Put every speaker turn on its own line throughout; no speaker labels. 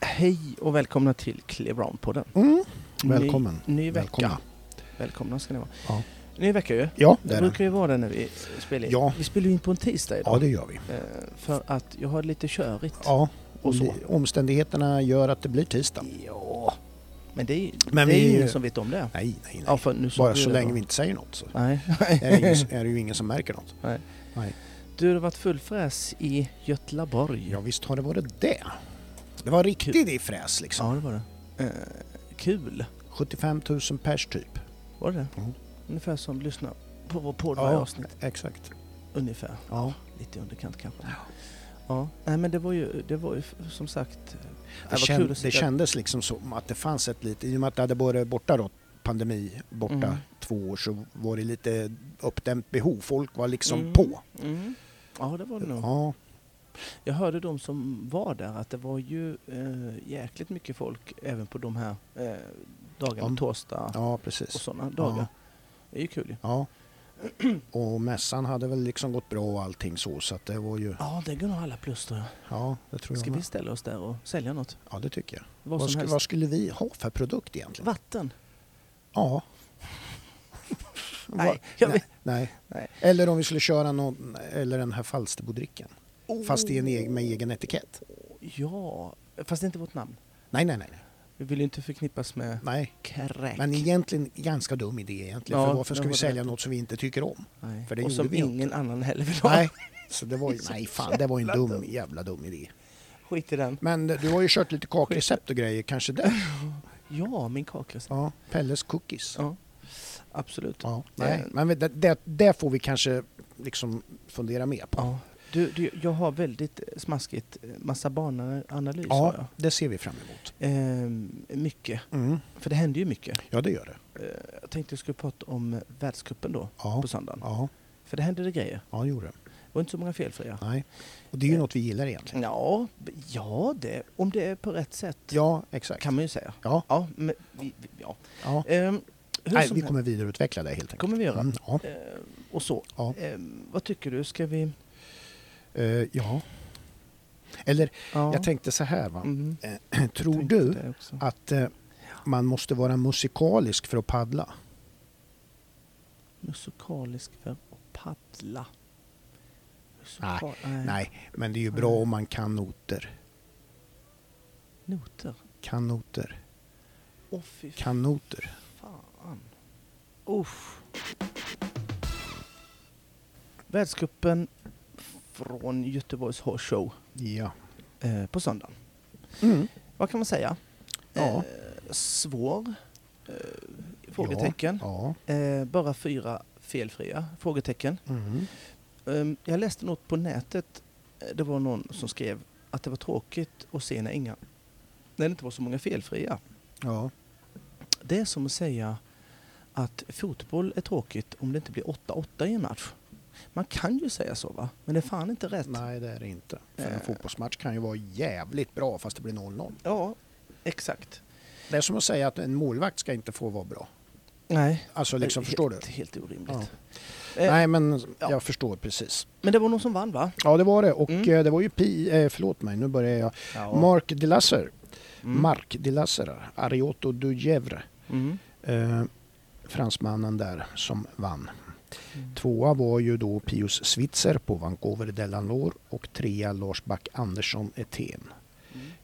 Hej och välkomna till Clear-Brown-podden.
Mm. Välkommen.
Ny, ny vecka.
Välkomna.
Välkomna ska ni vara.
Ja.
Ny vecka ju.
Ja, det
Det
är det.
brukar ju vara det när vi spelar in.
Ja.
Vi spelar ju in på en tisdag idag.
Ja, det gör vi.
Eh, För att jag har lite körigt.
Ja,
Och så.
det- Omständigheterna gör att det blir tisdag.
Ja. Men det är,
Men
det är
vi-
ju ingen som vet om det.
Nej, nej, nej.
Ja, för nu sa
Bara
du
så
det
länge
då.
vi inte säger något så
Nej.
är det, ingen, är det ju ingen som märker något.
Du, det har varit full fräs i Götlaborg.
Ja, visst har det varit det. Det var riktigt i fräs liksom.
Ja, det var det. Eh, kul.
75 000 pers typ.
Var det det?
Mm.
Ungefär som lyssnar på vår podd varje avsnitt.
exakt.
Ungefär.
Ja.
Lite i underkant kanske. Ja. Nej men det var ju, det var ju f- som sagt...
Det,
vad
känd,
kul att sitta-
det kändes liksom som att det fanns ett litet, i och med att det hade varit borta då, pandemi borta
Mm.
två år så var det lite uppdämt behov. Folk var liksom
Mm.
på.
Mm. Ja det var det nog.
Ja,
Jag hörde de som var där att det var ju eh, jäkligt mycket folk även på de här eh, dagarna,
Ja.
torsdag
ja
och
precis.
sådana dagar. Det är ju kul ju.
Ja. Och mässan hade väl liksom gått bra och allting så så att det var ju,
Ja det går nog alla plus tror jag.
ja det tror
Ah. Ska
jag
vi
med.
ställa oss där och sälja något?
Ja det tycker jag.
Vad,
Vad,
som
sku,
helst.
vad skulle vi ha för produkt egentligen?
Vatten?
Ja.
Nej,
Va-
jag
nej,
vet-
nej.
Nej.
Eller om vi skulle köra någon, eller den här Falsterbodrickan.
Oh,
Fast i en egen, med egen etikett.
Ja, fast det är inte vårt namn.
Nej, nej, nej. nej.
Vi vill ju inte förknippas med
nej.
kräk.
Men egentligen ganska dum idé egentligen.
Ja,
för varför ska
det
vi
var
sälja
det.
något som vi inte tycker om?
Nej.
för det
och
gjorde
som
vi
ingen annan heller vill ha.
Nej. Så det var ju, nej fan, det var ju en
jävla
dum, jävla dum idé.
Skit i den.
Men du har ju kört lite kakrecept och grejer, kanske det?
Ja, min kakrecept.
Ja, Pelles cookies.
Ja, absolut.
Ja, nej.
Eh.
Men det, det, det får vi kanske liksom fundera mer på.
Ja. Du, du, jag har väldigt smaskigt, eh, massa barnanalys har jag.
Ja, det ser vi fram emot.
Ehm, mycket,
Mm.
för det händer ju mycket.
Ja, det gör det.
Eh, jag tänkte jag skulle prata om eh, världscupen då,
Ja,
på söndagen.
ja,
För det hände det grejer.
ja det gjorde det.
Det var inte så många felfria.
Nej. Och det är ju
Eh.
något vi gillar egentligen.
Ja, b- ja det, om det är på rätt sätt
Ja, exakt.
kan man ju säga.
Ja,
Ja, men vi, vi, ja.
ja.
Ehm, hur
Nej,
som
vi
helst-
kommer vidareutveckla det helt enkelt.
kommer vi göra.
Mm, ja.
Ehm, och så.
Ja.
Ehm, vad tycker du? Ska vi...
Eh, ja. Eller,
Ja.
jag tänkte så här va.
Mhm.
Tror
Tänkte
du
det också.
att eh, man måste vara musikalisk för att paddla?
Musikalisk för att paddla.
Musikal-
nej.
Nej, men det är ju bra
Nej.
om man kan noter.
Noter.
Kan noter.
Åh fy
Kan noter.
fan. Usch. Världscupen från Göteborgs Horse Show
Ja.
eh, på söndagen.
Mm.
Vad kan man säga?
Ja.
Eh, svår? Eh, frågetecken.
Ja.
Eh, bara fyra felfria frågetecken.
Mm.
Ehm, Jag läste något på nätet. Eh, Det var någon som skrev att det var tråkigt att se när, inga, när det inte var så många felfria.
Ja.
Det är som att säga att fotboll är tråkigt om det inte blir 8-8 i en match. Man kan ju säga så va? Men det är fan inte rätt.
Nej, det är det inte. För en
Eh.
fotbollsmatch kan ju vara jävligt bra fast det blir 0-0.
Ja, exakt.
Det är som att säga att en målvakt ska inte få vara bra.
Nej.
Alltså liksom,
det är
förstår du?
helt, Helt orimligt. Eh,
Nej, men
ja.
jag förstår precis.
Men det var någon som vann va?
Ja, det var det. Och
Mm.
eh, det var ju Pi... Eh, förlåt mig, nu börjar jag.
Ja.
Mark Delasser.
Mm.
Mark Delasser. Arioto Dujevre.
Mm.
Eh, fransmannen där som vann.
Mm.
Tvåa var ju då Pius Switzer på Vancouver Delanor och trea Lars Back Andersson Eten.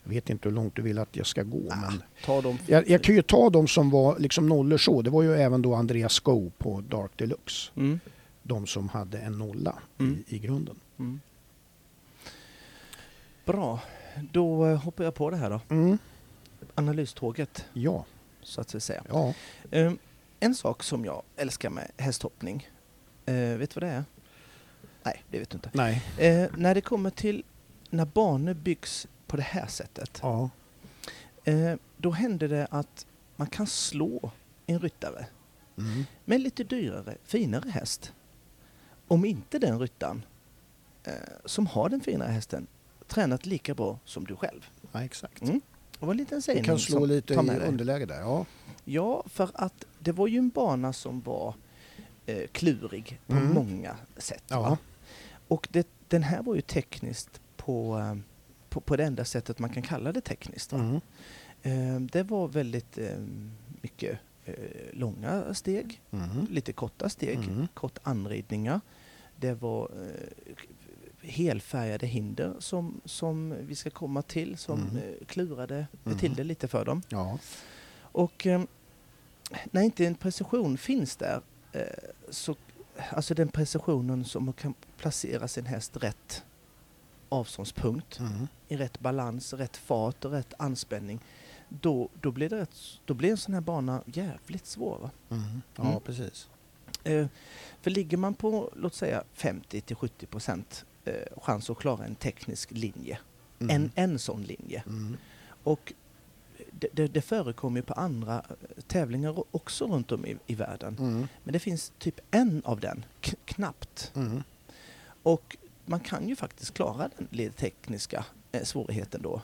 Jag vet inte hur långt du vill att jag ska
Ah.
gå men
Ta dem.
jag, jag kan ju ta de som var liksom nollor så. Det var ju även då Andreas Sko på Dark Deluxe.
Mm.
De som hade en nolla
Mm.
i, i grunden.
Mm. Bra, då eh, hoppar jag på det här då.
Mm.
analyståget,
Ja,
så att säga.
ja.
Ehm, En sak som jag älskar med hästhoppning, eh, vet du vad det är? Nej, det vet du inte.
Nej.
Eh, När det kommer till när banor byggs på det här sättet,
Ja.
eh, då händer det att man kan slå en ryttare
Mm.
med en lite dyrare, finare häst. Om inte den ryttaren eh, som har den finare hästen tränat lika bra som du själv.
ja, exakt.
Mm. Det var en liten
Du
sägning
kan slå
som-
lite i
ta med dig.
underläge där. Ja.
Ja, för att det var ju en bana som var eh, klurig på
Mm.
många sätt.
Ja.
Va? Och det, den här var ju tekniskt på, eh, på, på det enda sättet man kan kalla det tekniskt. Va?
Mm.
Eh, det var väldigt eh, mycket eh, långa steg,
Mm.
lite korta steg,
Mm.
kort anridningar. Det var eh, helfärgade hinder som, som vi ska komma till som
Mm.
eh, klurade
Mm.
till det lite för dem.
Ja.
Och eh, när inte en precision finns där, eh, så, alltså den precisionen som kan placera sin häst rätt avståndspunkt,
Mm.
i rätt balans, rätt fart och rätt anspänning, då, då, blir, det rätt, då blir en sån här bana jävligt svår. Va?
Mm. Ja,
Mm.
precis.
Eh, för ligger man på, låt säga 50 till 70 procent eh, chans att klara en teknisk linje,
Mm.
en, en sån linje,
Mm.
och det, det, det förekommer ju på andra eh, tävlingar också runt om i, i världen.
Mm.
Men det finns typ en av den, k- knappt.
Mm.
Och man kan ju faktiskt klara den lite tekniska eh, svårigheten då.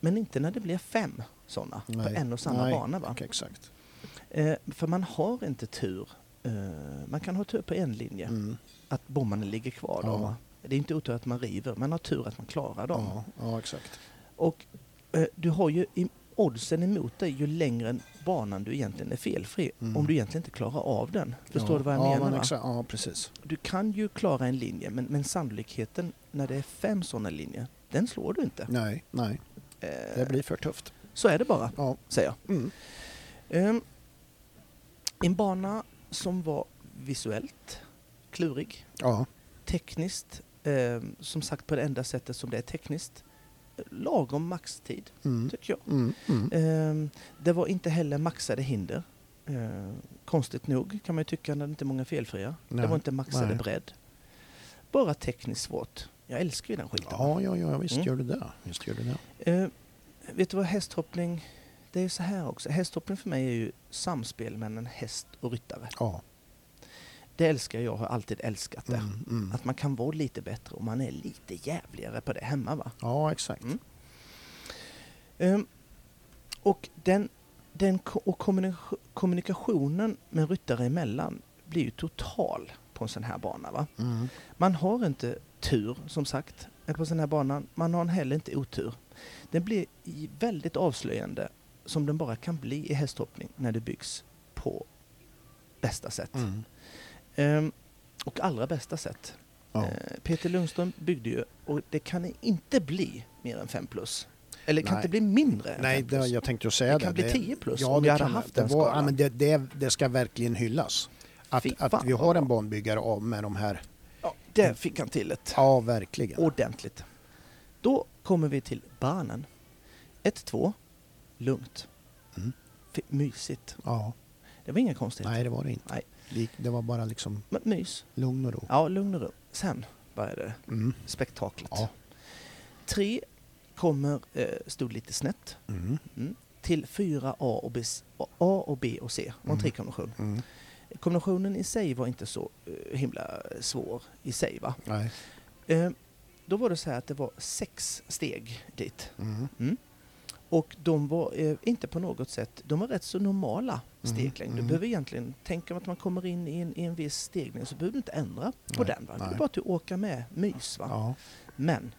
Men inte när det blir fem sådana på
Nej.
en och samma
Nej.
bana. Va?
Okej, exakt.
Eh, för man har inte tur. Eh, man kan ha tur på en linje,
Mm.
att bommarna ligger kvar. Då,
Ja.
va? Det är inte otur att man river, man har tur att man klarar dem.
Ja, ja, exakt.
Och eh, du har ju i- oddsen emot dig ju längre banan du egentligen är felfri.
Mm.
Om du egentligen inte klarar av den. Förstår
ja.
du vad jag
ja,
menar?
Men
va?
exakt. Ja, precis.
Du kan ju klara en linje, men, men sannolikheten när det är fem sådana linjer, den slår du inte.
Nej, nej. Det
Eh,
blir för tufft.
så är det bara,
Ja.
säger jag.
Mm.
Ehm, en bana som var visuellt klurig,
Ja.
tekniskt, ehm, som sagt på det enda sättet som det är tekniskt, eh, lagom maxtid,
Mm.
tycker jag.
Mm. Mm.
Ehm, det var inte heller maxade hinder. Ehm, konstigt nog, kan man ju tycka, när det inte är många felfria.
Nej.
Det var inte maxade
Nej.
bredd. Bara tekniskt svårt. Jag älskar ju den skiten.
Ja, ja, ja, visst
Mm.
gör du det. Visst gör du det.
Eh, vet du vad hästhoppning... Det är ju så här också. Hästhoppning för mig är ju samspel mellan häst och ryttare.
Ja.
Det älskar jag och har alltid älskat det.
Mm. Mm.
Att man kan vara lite bättre och man är lite jävligare på det hemma. Va?
Ja, exakt.
Mm. Eh, och den, den ko- och kommunik- kommunikationen med ryttare emellan blir ju total på en sån här bana. Va?
Mm.
Man har inte tur, som sagt, på den här banan. Man har heller inte otur. Den blir i- väldigt avslöjande, som den bara kan bli i hästhoppning, när det byggs på bästa sätt.
Mm.
Ehm, och allra bästa sätt.
Ja.
Eh, Peter Lundström byggde ju, och det kan inte bli mer än 5 plus. Eller det kan
Nej.
inte bli mindre än
Nej,
5
det,
plus.
jag tänkte ju säga
Det
det.
kan bli 10 plus
ja,
om
det
vi hade
kan-
haft
det
den
var, ja,
skalan.
men det, det, det ska verkligen hyllas. Att,
Fy fan
att vi
vad
har en
bra.
banbyggare av med de här.
Ja, där fick han till ett.
Ja, verkligen.
Ordentligt. Då kommer vi till barnen. 1-2. Lugnt.
Mm.
F- mysigt.
Ja.
Det var inga konstigheter.
Nej, det var det inte.
Nej.
Lik- Det var bara liksom
Men mys.
lugn och ro.
Ja, lugn och ro. Sen började
Mm.
spektaklet.
Ja.
Tre kommer, eh, stod lite snett.
Mm.
Mm. Till fyra A och B, A och, B och C. Och en
Mm.
trekombination.
Mm.
Kombinationen i sig var inte så eh, himla svår i sig va.
Nej.
Eh, då var det så här att det var sex steg dit.
Mm.
Och de var eh, inte på något sätt, de var rätt så normala
Mm,
steglängd. Du
mm.
behöver egentligen, tänk om att man kommer in i en, i en viss steglängd så behöver du inte ändra på
Nej,
den. Va? Det är
nej.
bara att du åker med mys. Va?
Ja.
Men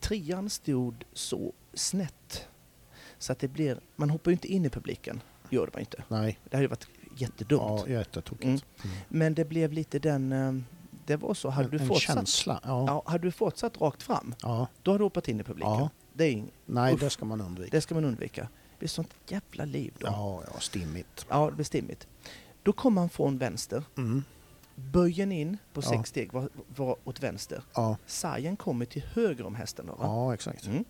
trean stod så snett så att det blir, man hoppar ju inte in i publiken, gör det man inte.
Nej.
Det hade ju varit jättedumt.
Ja, jättetokigt. Mm.
Men det blev lite den, eh, det var så, hade,
En-
du,
en
fortsatt,
känsla. Ja.
ja, hade du fortsatt rakt fram,
ja.
då hade du hoppat in i publiken.
Ja.
Det, är, ing-
Nej,
Usch.
det ska man undvika.
det ska man undvika. Det blir sånt jävla liv då.
Ja, ja, stimmigt.
Ja, det blir stimmigt. Då kom han från vänster.
Mm.
Böjen in på
Ja.
sex steg var, var åt vänster.
Ja.
Sargen kommer till höger om hästen då, va?
ja, exakt.
Mm.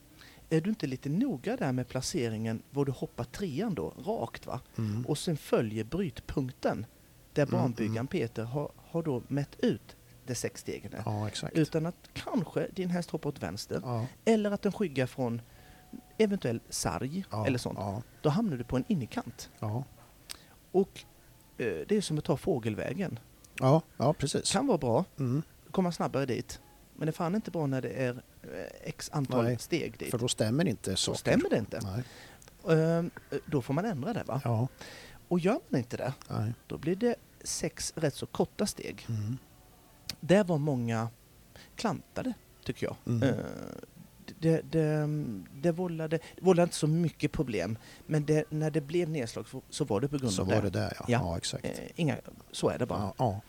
Är du inte lite noga där med placeringen var du hoppar trean då, rakt va?
Mm.
Och sen följer brytpunkten där
Mm,
banbyggaren
mm.
Peter har, har då mätt ut de sex stegen. är.
Ja, exakt.
Utan att kanske din häst hoppar åt vänster
Ja.
eller att den skyggar från eventuell sarg
Ja.
eller sånt.
Ja.
Då hamnar du på en innerkant.
Ja.
Och eh, det är som att ta fågelvägen.
Ja, ja precis.
Kan vara bra,
Mm.
komma snabbare dit. Men det är fan inte bra när det är eh, x antal
Nej,
steg dit.
För då stämmer inte
Då
saker.
stämmer det inte.
Nej.
Ehm, Då får man ändra det va?
Ja.
Och gör man inte det,
Nej.
då blir det sex rätt så korta steg.
Mm.
Där var många klantade, tycker jag.
Mm.
Ehm, det, det, det, vållade, det vållade inte så mycket problem, men det, när det blev nedslag så, så var det på grund
Så
av
var
det.
det där ja.
Ja.
Ja, exakt.
Eh, inga, så är det bara.
Ja, ja.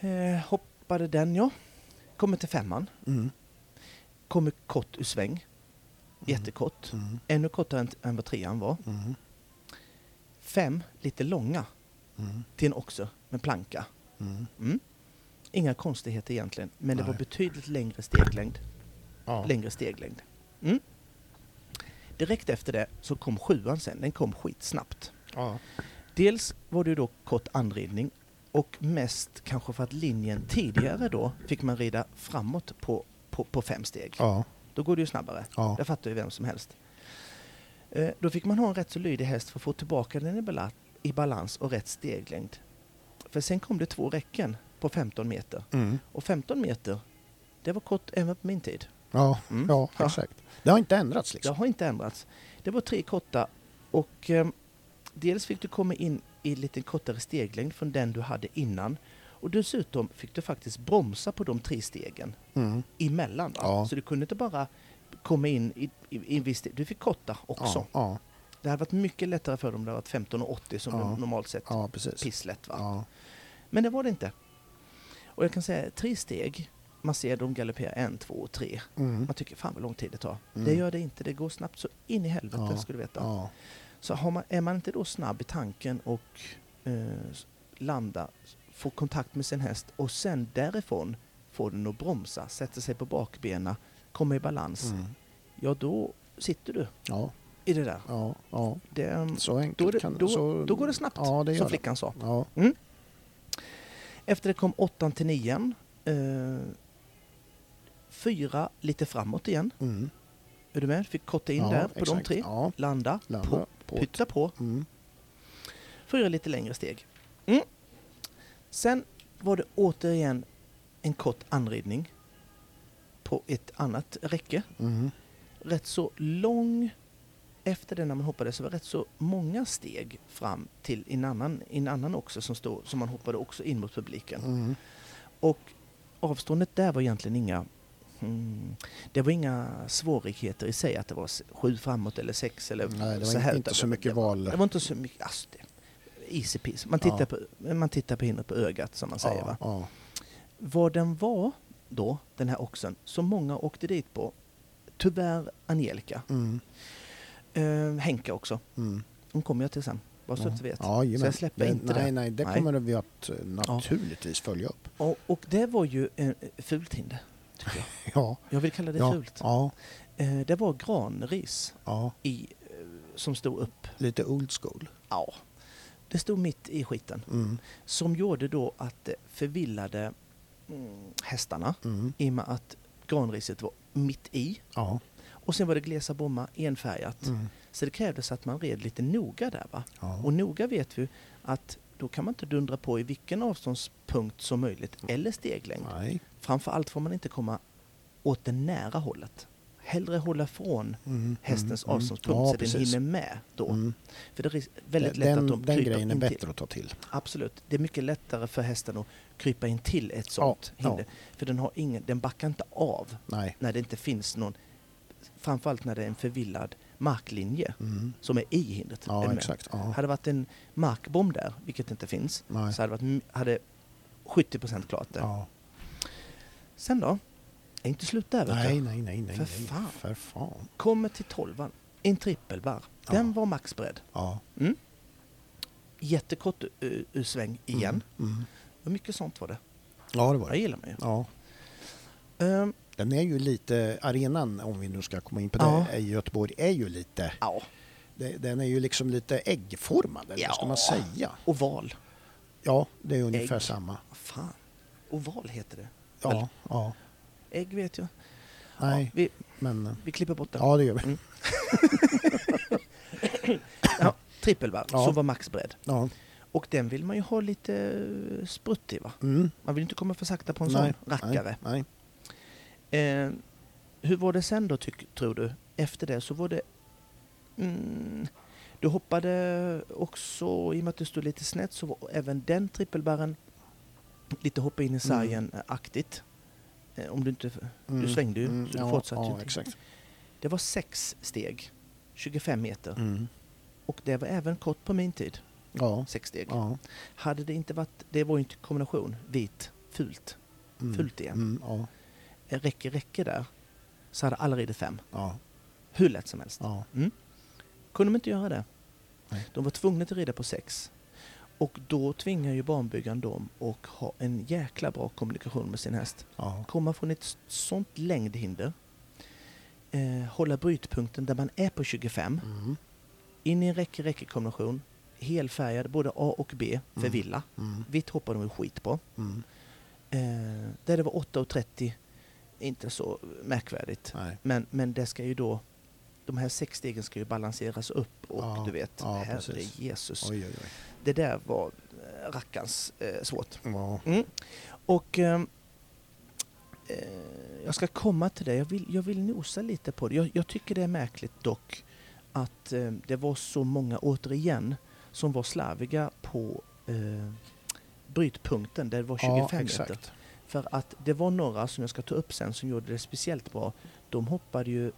Eh, hoppade den ja. Kommer till femman.
Mm.
Kommer kort ur sväng. Jättekort.
Mm.
Ännu kortare än, än vad trean var.
Mm.
Fem, lite långa
Mm.
till en också med planka.
Mm.
Mm. Inga konstigheter egentligen, men det
Nej.
var betydligt längre steglängd.
Ja.
Längre steglängd. Mm. Direkt efter det så kom sjuan sen, den kom skitsnabbt.
Ja.
Dels var det ju då kort anridning och mest kanske för att linjen tidigare då fick man rida framåt på, på, på fem steg.
Ja.
Då går det ju snabbare.
Ja.
Det fattar ju vem som helst. Eh, Då fick man ha en rätt så lydig häst för att få tillbaka den i bala- i balans och rätt steglängd. För sen kom det två räcken på 15 meter.
Mm.
Och 15 meter, det var kort även på min tid.
Ja.
Mm.
ja,
Ja.
exakt. Det har inte ändrats
Det
liksom.
har inte ändrats. Det var tre korta och eh, dels fick du komma in i lite kortare steglängd från den du hade innan. Och dessutom fick du faktiskt bromsa på de tre stegen.
Mm.
emellan. Va?
Ja.
Så du kunde inte bara komma in i, i, i en viss del. Du fick korta också.
Ja, ja,
Det hade varit mycket lättare för dem om det hade varit 15 och 80 som
Ja.
det normalt sett
ja, precis.
pisslätt. Va?
Ja.
Men det var det inte. Och jag kan säga tre steg. Man ser dem galoppera en, två och tre.
Mm.
Man tycker fan vad lång tid det tar.
Mm.
Det gör det inte. Det går snabbt så in i helvete
Ja.
ska du veta.
Ja.
Så har man, är man inte då snabb i tanken och eh, s- landa, s- få kontakt med sin häst och sen därifrån får den att bromsa, sätta sig på bakbenen, komma i balans.
Mm.
Ja, då sitter du
Ja,
i det där.
ja, ja.
Det, mm,
Så enkelt
Då är det-
kan
då-
så,
då går det snabbt,
Ja, det gör
som
det.
flickan sa.
Ja.
Efter det kom åttan till nian. Eh, fyra lite framåt igen.
Mm.
Är du med? Fick korta in
ja,
där på de
exakt.
tre.
Ja.
Landa,
Landa.
på,
på.
pytta på.
Mm.
Fyra lite längre steg. Mm. Sen var det återigen en kort anridning på ett annat räcke.
Mm.
Rätt så lång efter det när man hoppade så var det rätt så många steg fram till en annan, en annan också som, stod, som man hoppade också in mot publiken.
Mm.
Och avståndet där var egentligen inga mm, det var inga svårigheter i sig att det var s- sju framåt eller sex eller
Nej, det
så
var
här. utan
in- inte så
det-
mycket val.
det var inte så mycket, alltså det, easy peasy. Man tittar,
Ja.
på, man tittar på hindret på ögat som man säger. Va?
Ja.
Vad den var då, den här oxen, som många åkte dit på, tyvärr Angelica,
ja. Mm.
eh, Henka också,
Mm.
hon kommer jag till sen, bara så
Ja.
att du vet.
Ja, jajamän.
Så jag släpper
det,
inte
nej,
det.
Nej, det
Nej.
kommer vi att eh, naturligtvis följa upp.
Och, och det var ju eh, fult hinder, tycker jag.
Ja,
Jag vill kalla det
ja,
fult.
ja,
Eh, det var granris
ja.
i, eh, som stod upp,
Lite old school.
ja, det stod mitt i skiten.
Mm.
Som gjorde då att det förvillade mm, hästarna.
Mm.
i och med att granriset var mitt i.
Ja.
Och sen var det glesa bommar, enfärgat.
Mm.
Så det krävdes att man red lite noga där va.
Ja.
Och noga vet vi att då kan man inte dundra på i vilken avståndspunkt som möjligt eller steglängd.
Mm. Nej.
Framför allt får man inte komma åt det nära hållet. Hellre hålla från
Mm.
hästens
mm, mm.
avståndspunkt
Ja,
så den
precis.
hinner med då.
Mm.
För det är ris- väldigt lätt
den,
att de
den
kryper
grejen är
in till.
bättre att ta till.
Absolut. Det är mycket lättare för hästen att krypa in till ett sånt
ja.
hinder. För den, har ingen, den backar inte av
Nej.
när det inte finns någon, framförallt när det är en förvillad marklinje
Mm.
som är i hindret. Är du
Ja,
med?
exakt. Ja.
Hade det varit en markbomb där, vilket inte finns,
Nej.
så hade, det varit, m- hade 70% klart det.
Ja.
Sen då? Är inte slut där. vet
Nej,
du.
nej, nej, nej.
För
nej.
fan.
För fan.
Kommer till 12 en trippelbar.
Ja.
Den var maxbredd.
Ja.
Mm. Jättekort ur, ur sväng igen.
Mm. Mm.
Och mycket sånt var det.
Ja, det var
Det
det.
gillar man ju.
Ja.
Ehm,
Den är ju lite, arenan om vi nu ska komma in på det,
Ja.
i Göteborg är ju lite,
ja,
det- den är ju liksom lite äggformad, eller
Ja.
vad ska man säga?
oval.
Ja, det är ungefär
Ägg.
samma.
Vad fan? Oval heter det. Väl?
Ja, ja.
Ägg vet jag.
Nej,
Vi,
men eh,
vi klipper bort den.
ja det gör vi.
Ja, trippelvarv
Ja.
som var maxbredd.
Ja.
Och den vill man ju ha lite eh, sprutt i va?
Mm.
Man vill inte komma för sakta på en
Nej,
sån rackare.
Nej, nej.
Eh, hur var det sen då tyck, tror du? Efter det så var det... Mm, du hoppade också, i och med att du stod lite snett så var även den trippelbarren lite hoppa in i sargen-aktigt. Eh, Om du inte...
Mm,
svängde ju,
mm,
så du
ja,
fortsatte ju
ja,
inte.
exakt.
Det var sex steg, 25 meter.
Mm.
Och det var även kort på min tid,
Ja.
sex steg.
ja.
Hade det inte varit... Det var ju inte kombination, vit, fult.
Mm.
Fullt igen.
Mm, ja.
Eh, Räcker, räcker där. Så hade alla ridit fem.
Ja.
Hur lätt som helst. Mm.
Ja.
Kunde de inte göra det.
Nej.
De var tvungna att rida på sex. Och då tvingar ju banbyggaren dem att ha en jäkla bra kommunikation med sin häst.
Ja.
komma från ett sånt längdhinder, eh, hålla brytpunkten där man är på 25,
Mm.
in i en räcke-räcke-kombination, helfärgad, både A och B för
Mm.
villa.
Mm.
Vitt hoppar de ju skit på.
Mm.
Eh, där det var 8,30, inte så märkvärdigt.
Nej.
Men, men det ska ju då, de här sex stegen ska ju balanseras upp och
Ja,
du vet,
ja,
herre
precis.
Jesus.
Oj, oj, oj.
Det där var eh, rackans eh, svårt.
Ja.
Och ehm, eh, jag ska komma till det. Jag vill, jag vill nosa lite på det. Jag, jag tycker det är märkligt dock att eh, det var så många, återigen, som var slarviga på eh, brytpunkten där det var 25
ja,
meter.
exakt.
För att det var några som jag ska ta upp sen som gjorde det speciellt bra. De hoppade ju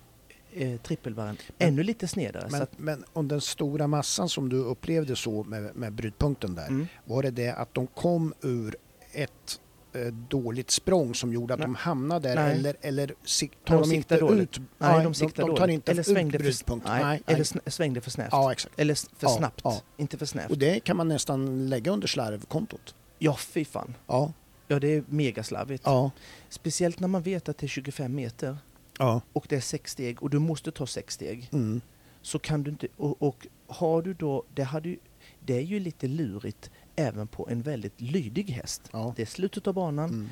eh, trippelvarven
Men-
ännu lite snedare. så
Men,
att,
men om den stora massan som du upplevde så med, med brytpunkten där.
mm,
Var det det att de kom ur ett eh, dåligt språng som gjorde att
Nej.
de hamnade där
Nej.
eller, eller sik-
de
tar de, inte
siktar dåligt.
ut?
nej, de siktade
de, de
dåligt.
tar inte
eller
ut
svängde för,
brytpunkten.
nej, eller sn- svängde för snävt.
Ja, exakt.
Eller s- för
Ja,
snabbt,
ja.
inte för snävt.
Och det kan man nästan lägga under slarvkontot.
Ja, fy fan.
Ja,
Ja, det är megaslarvigt.
ja,
Speciellt när man vet att det är 25 meter
ja.
och det är sex steg och du måste ta sex steg.
Mm.
Så kan du inte... Och, och har du då... Det, hade ju, det är ju lite lurigt även på en väldigt lydig häst.
ja.
Det är slutet av banan.
Mm.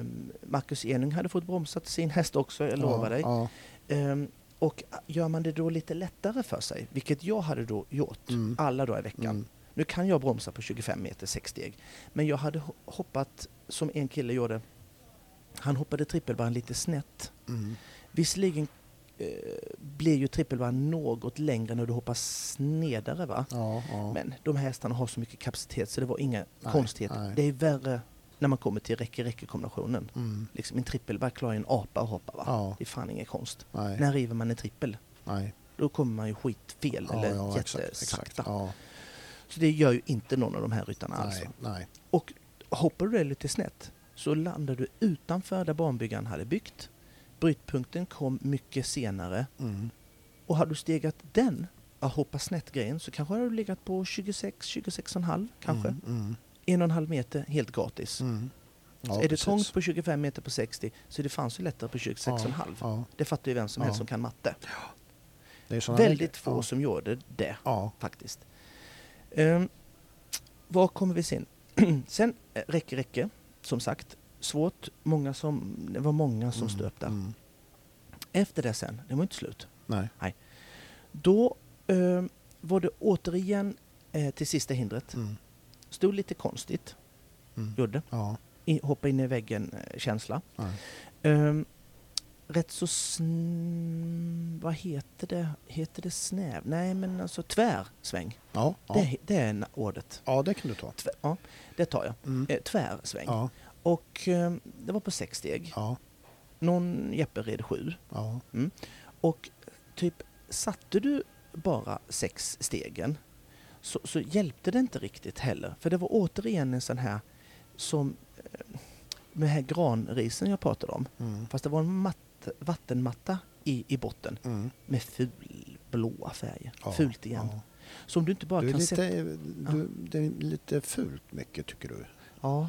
Ehm, Marcus Enung hade fått bromsat sin häst också, jag lovar
ja,
dig.
Ja.
Ehm, och gör man det då lite lättare för sig, vilket jag hade då gjort
Mm.
alla dagar i veckan.
Mm.
Nu kan jag bromsa på 25 meter, sex steg. Men jag hade ho- hoppat, som en kille gjorde, han hoppade trippelvarv lite snett.
Mm.
Visserligen eh, blir ju trippelvarv något längre när du hoppar snedare va?
Ja, ja.
Men de här hästarna har så mycket kapacitet så det var inga
Nej,
konstigheter.
nej.
Det är värre när man kommer till räcke-räcke-kombinationen.
Mm.
Liksom en trippelvarv klarar ju en apa att hoppa va?
Ja,
Det är fan ingen konst.
nej,
När river man en trippel?
nej.
Då kommer man ju skitfel
Ja,
eller
ja,
jättesakta.
exakt, exakt. Ja,
Så det gör ju inte någon av de här ryttarna alls.
nej, nej.
Och hoppar du det lite snett så landar du utanför där banbyggaren hade byggt. Brytpunkten kom mycket senare
Mm.
och hade du stegat den, att hoppa snett grejen, så kanske hade du legat på 26, 26,5 kanske.
Mm, mm,
En och en halv meter helt gratis.
mm. Ja,
så är det
precis.
trångt på 25 meter på 60 så är det fanns ju lättare på 26,5.
Ja,
Det fattar ju vem som helst
Ja.
som kan matte.
det är såna
Väldigt
lägen.
få
Ja.
som gjorde det.
Ja,
faktiskt. Um, var kommer vi sen? sen eh, räcker räcker, som sagt. Svårt, många som, det var många som
mm,
stöp där.
Mm.
Efter det sen, det var inte slut.
Nej.
Då ehm, var det återigen eh, till sista hindret.
Mm.
Stod lite konstigt,
Mm.
gjorde.
Ja,
I, hoppa in i väggen-känsla.
nej.
Ehm, rätt så sn... Vad heter det? Heter det snäv? Nej, men alltså tvärsväng.
Ja, ja.
Det, det är na- ordet.
ja, det kan du ta.
Tvär, ja, det tar jag.
Mm.
Eh, tvärsväng.
Ja,
Och eh, det var på sex steg.
ja,
Någon Jeppe red sju.
ja.
Och typ satte du bara sex stegen så, så hjälpte det inte riktigt heller. För det var återigen en sån här som eh, med här granrisen jag pratade om.
Mm.
Fast det var en matt, vattenmatta i, i botten
Mm.
med ful blåa färger.
Ja,
Fult igen.
Ja.
Så om du inte bara
Du är
kan sätta...
lite, du, det är lite fult mycket tycker du.
Ja,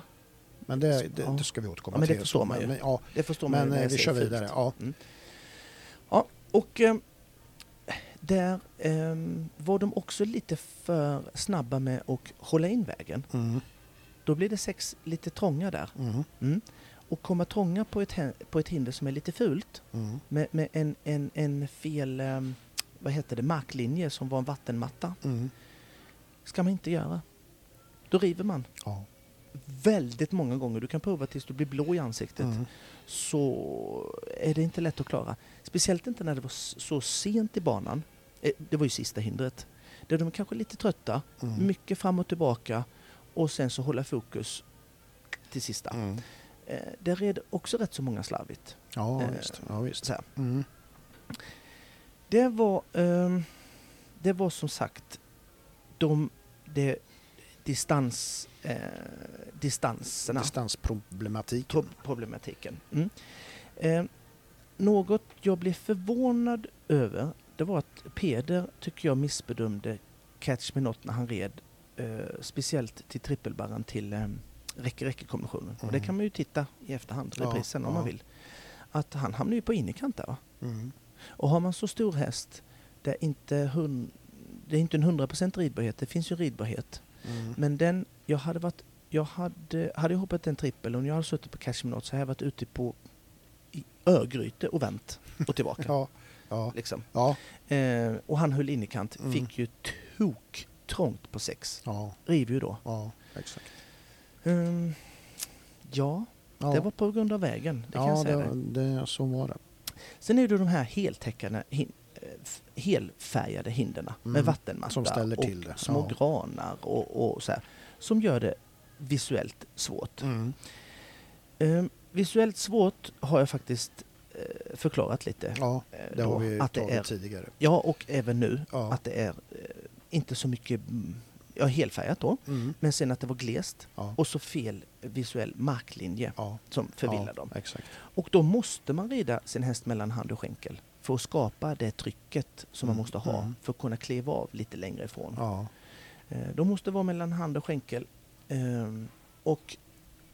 Men det, det,
Ja.
det ska vi återkomma
Ja, men det
till.
förstår man ju.
Men, ja,
det förstår man
men
ju när
eh,
jag
vi
säger
kör
fult.
vidare. Ja.
Ja, och eh, där eh, var de också lite för snabba med att hålla in vägen.
Mm.
Då blir det sex lite trånga där.
Mm.
Mm. Och komma trånga på ett, hä- på ett hinder som är lite fult
Mm.
med, med en, en, en fel eh, vad heter det, marklinje som var en vattenmatta
Mm.
ska man inte göra. Då river man
Ja.
väldigt många gånger. Du kan prova tills du blir blå i ansiktet.
Mm.
så är det inte lätt att klara. Speciellt inte när det var s- så sent i banan. Eh, Det var ju sista hindret. Där de är kanske lite trötta,
Mm.
mycket fram och tillbaka och sen så hålla fokus till sista.
Mm.
Eh, det red också rätt så många slarvigt.
Ja,
Eh,
visst. Ja, visst.
Så här.
Mm.
Det var, ehm, det var som sagt de, det- distans, eh, distanserna,
Distansproblematik.
pro- problematiken. Mm. Ehm, något jag blev förvånad över, det var att Peder tycker jag missbedömde Catch Me Not när han red eh, speciellt till trippelbarren till eh, Räcke-Räcke-kommissionen. Och det
Mm.
kan man ju titta i efterhand,
Ja,
reprisen om man
ja.
vill. Att han hamnar ju på innerkant där va?
Mm.
Och har man så stor häst, det är inte, hun, det är inte en 100% ridbarhet, det finns ju ridbarhet.
Mm.
Men den, jag hade varit, jag hade, hade jag hoppat en trippel och jag hade suttit på Cash Me Not så hade jag varit ute på i Örgryte och vänt och tillbaka.
Ja, ja,
liksom.
ja,
eh, och han höll innerkant,
Mm.
fick ju tok trångt på sex.
ja,
River ju då.
ja, exakt.
Ehm, ja,
Ja,
det var på grund av vägen. Det kan jag
ja,
säga
det,
dig.
det, så var det.
Sen är det de här heltäckande, hin, eh, f- helfärgade hinderna med
Mm,
vattenmatta
som ställer
och
till det,
små
ja.
granar och, och så här, som gör det visuellt svårt.
Mm.
Ehm, visuellt svårt har jag faktiskt eh, förklarat lite.
Ja,
eh,
det
då,
har vi
att det
tagit
är,
tidigare.
Ja, och även nu,
Ja.
att det är eh, inte så mycket mm, ja, helfärgat då,
Mm.
men sen att det var glest
Ja,
och så fel visuell marklinje
ja,
som förvillar
ja,
dem.
Exakt.
Och då måste man rida sin häst mellan hand och skänkel för att skapa det trycket som man
Mm,
måste ha
mm.
för att kunna kliva av lite längre ifrån.
Ja,
Eh, De måste vara mellan hand och skänkel. Ehm, Och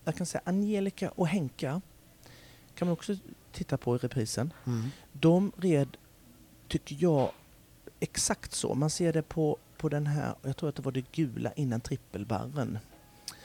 jag kan säga Angelica och Henka kan man också titta på i reprisen.
mm.
De red, tycker jag, exakt så. Man ser det på, på den här, jag tror att det var det gula innan trippelbarren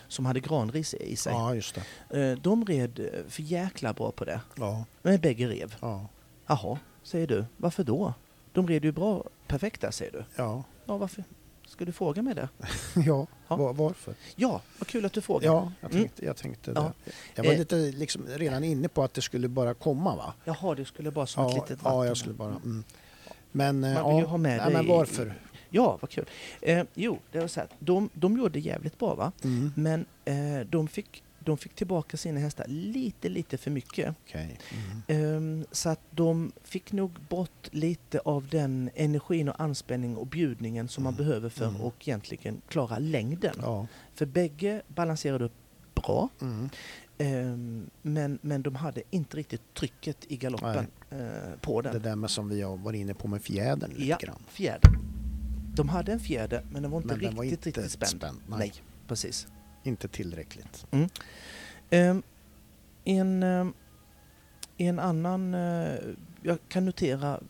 som hade granris i sig.
ja just det.
Eh, De red eh, för jäkla bra på det.
Ja,
Men bägge rev.
ja,
Jaha, säger du. Varför då? De red ju bra, perfekt där, säger du.
ja,
Ja, varför? Ska du fråga mig det?
ja.
Ja.
Var, varför?
Ja, vad kul att du frågar.
Ja, jag tänkte, jag tänkte det.
Mm. Ja.
Jag var
Eh.
lite liksom redan inne på att det skulle bara komma va?
Jaha, du skulle bara som ett
Ja,
litet vatten.
ja jag skulle bara... Mm. Men, eh,
Man vill ju
ja,
ha med
nej,
det
men
i-
varför?
Ja, vad kul. Eh, jo, det var så här. De, de gjorde jävligt bra, va?
Mm.
Men eh, de, fick, de fick tillbaka sina hästar lite, lite för mycket.
Okej. Mm.
Ehm, så att de fick nog bort lite av den energin och anspänning och bjudningen som man
Mm.
behöver för
Mm.
att egentligen klara längden.
Ja.
För bägge balanserade upp bra.
Mm.
Ehm, men, men de hade inte riktigt trycket i galoppen eh, på
Det
den.
där med som vi har varit inne på med fjädern lite
Ja,
grann.
fjädern. De hade en fjäder men den var inte
Men
riktigt,
den var inte
riktigt spänd.
Nej.
Nej. precis.
inte tillräckligt.
Ehm, en, ehm, en annan... eh, jag kan notera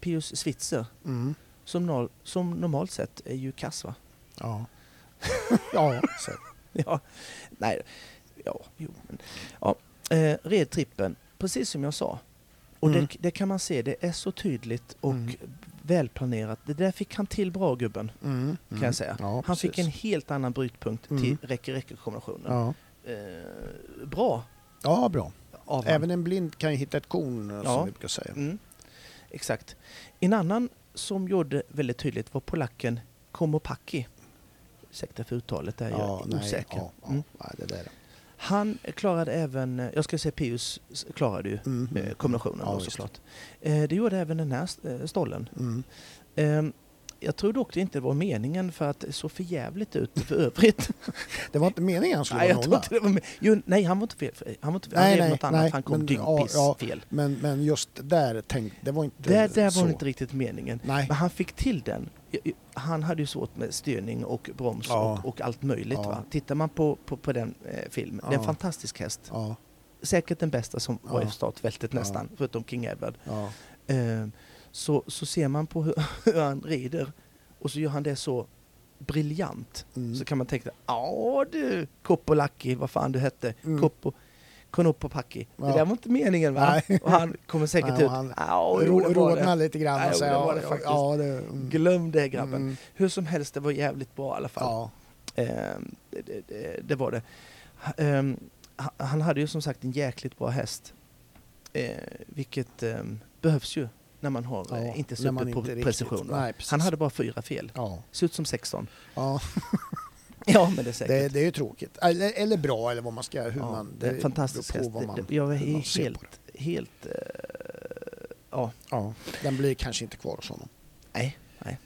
Pius Switzer
Mm.
som, nor- som normalt sett är ju kass va?
Ja. ja, så.
Ja, nej, ja, jo. Men, ja, eh, red trippen, precis som jag sa. Och
Mm.
det, det kan man se, det är så tydligt och
Mm.
välplanerat. Det där fick han till bra gubben,
Mm.
kan
Mm.
jag säga.
Ja,
han fick en
precis.
helt annan brytpunkt
Mm.
till räcke-räcke-kombinationen.
Ja.
Eh, bra
ja, bra.
av han.
Även en blind kan ju hitta ett korn eh,
Ja.
som vi brukar säga.
Mm. Exakt. En annan som gjorde väldigt tydligt var polacken Komopaki. Ursäkta för uttalet, där jag är osäker.
ja, ja,
Mm.
nej, det där.
Han klarade även, eh, jag ska säga Pius s- klarade ju
Mm.
eh, kombinationen
Ja,
då,
visst.
såklart. Eh, Det gjorde även den här st- eh, stollen.
Mm.
Eh, Jag tror dock det inte var meningen för att det såg för jävligt ut för övrigt.
Det var inte meningen han skulle
nej, jag
vara
tror
nolla.
inte det var med. Jo, nej, han var inte fel. Han var inte fel. Han
Nej,
nej,
nej,
något annat.
nej,
han kom
men- ja,
dyngpiss
ja.
fel.
Men, men just där tänkte det var inte
Där, där
så.
var det inte riktigt meningen.
Nej.
Men han fick till den. Han hade ju svårt med styrning och broms
Ja.
och, och allt möjligt.
Ja.
Va? Tittar man på, på, på den eh, filmen, det är en
Ja.
fantastisk häst.
Ja,
Säkert den bästa som var i
Ja.
startfältet
Ja.
nästan, förutom King Edward.
ja,
Eh, så, så ser man på hur, hur han rider och så gör han det så briljant.
mm.
Så kan man tänka, ja du Koppolaki, vad fan du hette,
Mm.
Koppo, Konopopaki. Det
Ja.
där var inte meningen va?
Nej.
Och han kommer säkert
Nej,
ut,
och han
ja jo, det var det."
Rodna lite grann
Nej,
och
jo,
säga
det var
ja,
det
ja,
faktiskt.
ja, det, mm.
Glöm det grabben.
Mm.
Hur som helst, det var jävligt bra i alla fall.
Ja,
Eh, det, det- det, det var det. Ha- ehm, ha- han hade ju som sagt en jäkligt bra häst. Eh, vilket ehm, behövs ju när man har
ja,
eh, inte
när man
superprecision.
riktigt-
va?
Nej, precis.
han hade bara fyra fel.
Ja,
Ser ut som 16.
ja,
Ja, men det är säkert.
Det, det är ju tråkigt. Eller, eller bra eller vad man ska... Hur
ja,
man,
det är fantastisk
beror
häst.
på vad man-
Det- jag är
hur man ser på
helt, helt... eh, ja,
Ja, den blir kanske inte kvar hos honom.
nej. nej.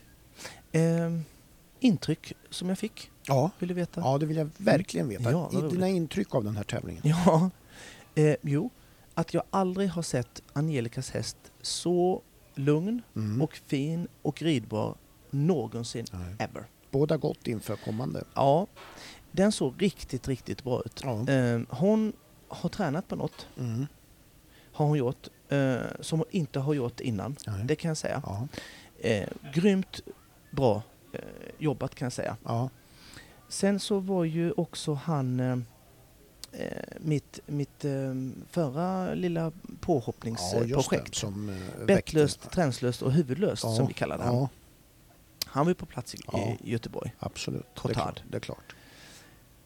Ehm, intryck som jag fick,
Ja,
vill du veta?
ja det vill jag verkligen veta.
Ja, vad
I dina intryck av den här tävlingen.
Ja, eh, jo. Att jag aldrig har sett Angelicas häst så lugn
Mm.
och fin och ridbar någonsin
Nej.
ever.
Båda gott inför kommande.
Ja, den såg riktigt, riktigt bra ut.
Ja.
Eh, hon har tränat på något,
Mm.
har hon gjort, eh, som hon inte har gjort innan.
Nej.
Det kan jag säga.
Ja.
Eh, grymt bra eh, jobbat kan jag säga.
Ja.
Sen så var ju också han eh, eh, mitt, mitt eh, förra lilla
ja, just det.
påhoppningsprojekt.
Som, eh,
Bettlöst,
väckte-
tränslöst och huvudlöst
Ja,
som vi kallade han.
Ja,
Han var ju på plats i,
Ja.
i Göteborg.
absolut. Det är,
Cotard.
klart, det är klart.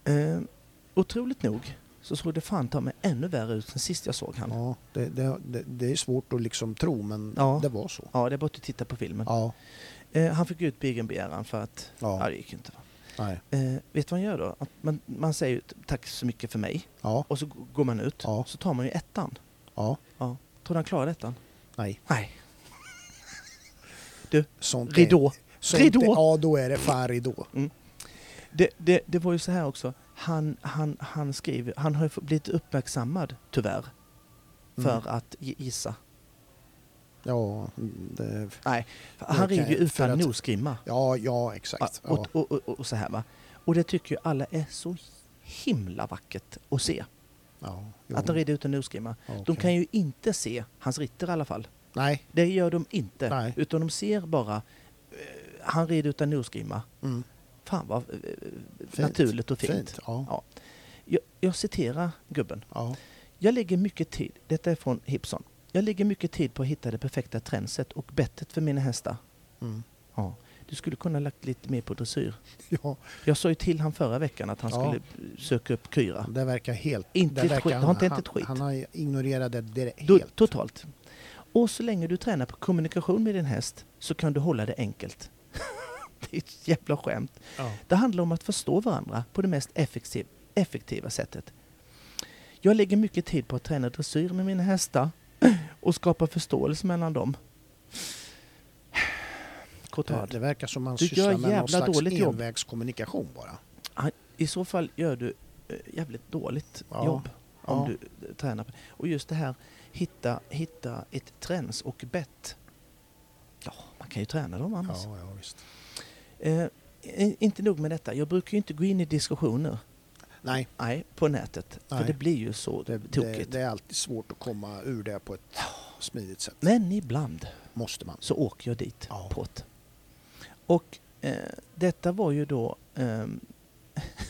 Eh, otroligt nog så såg det fan ta mig ännu värre ut än sist jag såg han. Ja,
Ja, det, det, det, det är svårt att liksom tro, men
Ja.
det var så.
det är bara att titta på filmen.
Ja,
Eh, han fick ut på egen begäran för att, ja,
ja,
det gick ju inte. Va?
nej.
Eh, vet du vad han gör då? Att man, man säger ju tack så mycket för mig
Ja,
och så g- går man ut.
Ja.
Så tar man ju ettan.
ja,
Ja. Tror du han klarade ettan?
nej.
Nej.
Sånt är-
Ridå.
sånt är-
Ridå.
Ja, då är det fan ridå.
Det, det, det var ju så här också. Han, han, han skriver, han har ju fått- blivit uppmärksammad tyvärr för
Mm.
att gi- gissa.
Ja, det,
Nej, för
Det
han
kan
rider ju
jag-
utan
för att-
nosgrimma.
ja, ja,
Ja,
exakt. Ja,
och, och, och, och så här va. Och det tycker ju alla är så himla vackert att se.
ja, jo.
Att han rider utan nosgrimma.
Ja,
De
okej.
kan ju inte se hans ritter i alla fall.
Nej.
Det gör de inte.
Nej.
Utan de ser bara, eh, han rider utan nosgrimma.
Mm.
Fan vad eh, naturligt och fint.
Ja.
Ja. Jag, jag citerar gubben.
Ja.
Jag lägger mycket tid, detta är från Hibson. Jag lägger mycket tid på att hitta det perfekta trendset och bettet för mina hästar.
Mm.
Ja. Du skulle kunna lagt lite mer på dressyr.
ja,
Jag sa ju till han förra veckan att han
Ja.
skulle söka upp Kyra.
det verkar helt...
Inte
det
ett
verkar
skit. Har inte
han,
ett skit.
Han har ignorerat det direkt.
Du,
helt.
totalt. Och så länge du tränar på kommunikation med din häst så kan du hålla det enkelt. det är ett jävla skämt.
Ja.
Det handlar om att förstå varandra på det mest effektiv, effektiva sättet. Jag lägger mycket tid på att träna dressyr med mina hästar och skapa förståelse mellan dem.
Det,
Cotard,
det verkar som man
Du gör
sysslar med någon
jävla
slags
dåligt jobb.
envägskommunikation bara.
han- i så fall gör du eh, jävligt dåligt
Ja,
jobb om
ja.
du eh, tränar på Och just det här, hitta, hitta ett träns och bett. Ja, man kan ju träna dem annars.
Ja, ja, visst.
Eh, i- inte nog med detta, jag brukar ju inte gå in i diskussioner
Nej,
Nej, på nätet.
Nej.
För det blir ju så
det, det,
tokigt.
det är alltid svårt att komma ur det på ett smidigt sätt.
Men ibland
Måste man.
så åker jag dit
Ja.
på ett. Och eh, detta var ju då... ehm,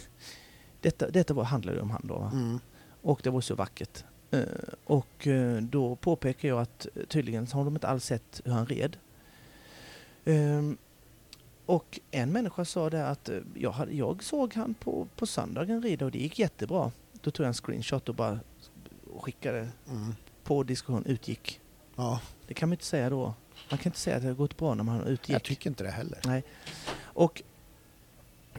detta detta var, handlade ju om han då. Va?
Mm.
Och det var så vackert. Eh, och eh, då påpekar jag att eh, tydligen så har de inte alls sett hur han red. Ehm, och en människa sa det att eh, jag, hade, jag såg han på, på söndagen rida och det gick jättebra. Då tog jag en screenshot och bara skickade
Mm.
på diskussion utgick.
Ja,
Det kan man inte säga då. Man kan inte säga att det har gått bra när man
jag
utgick.
tycker inte det heller.
Och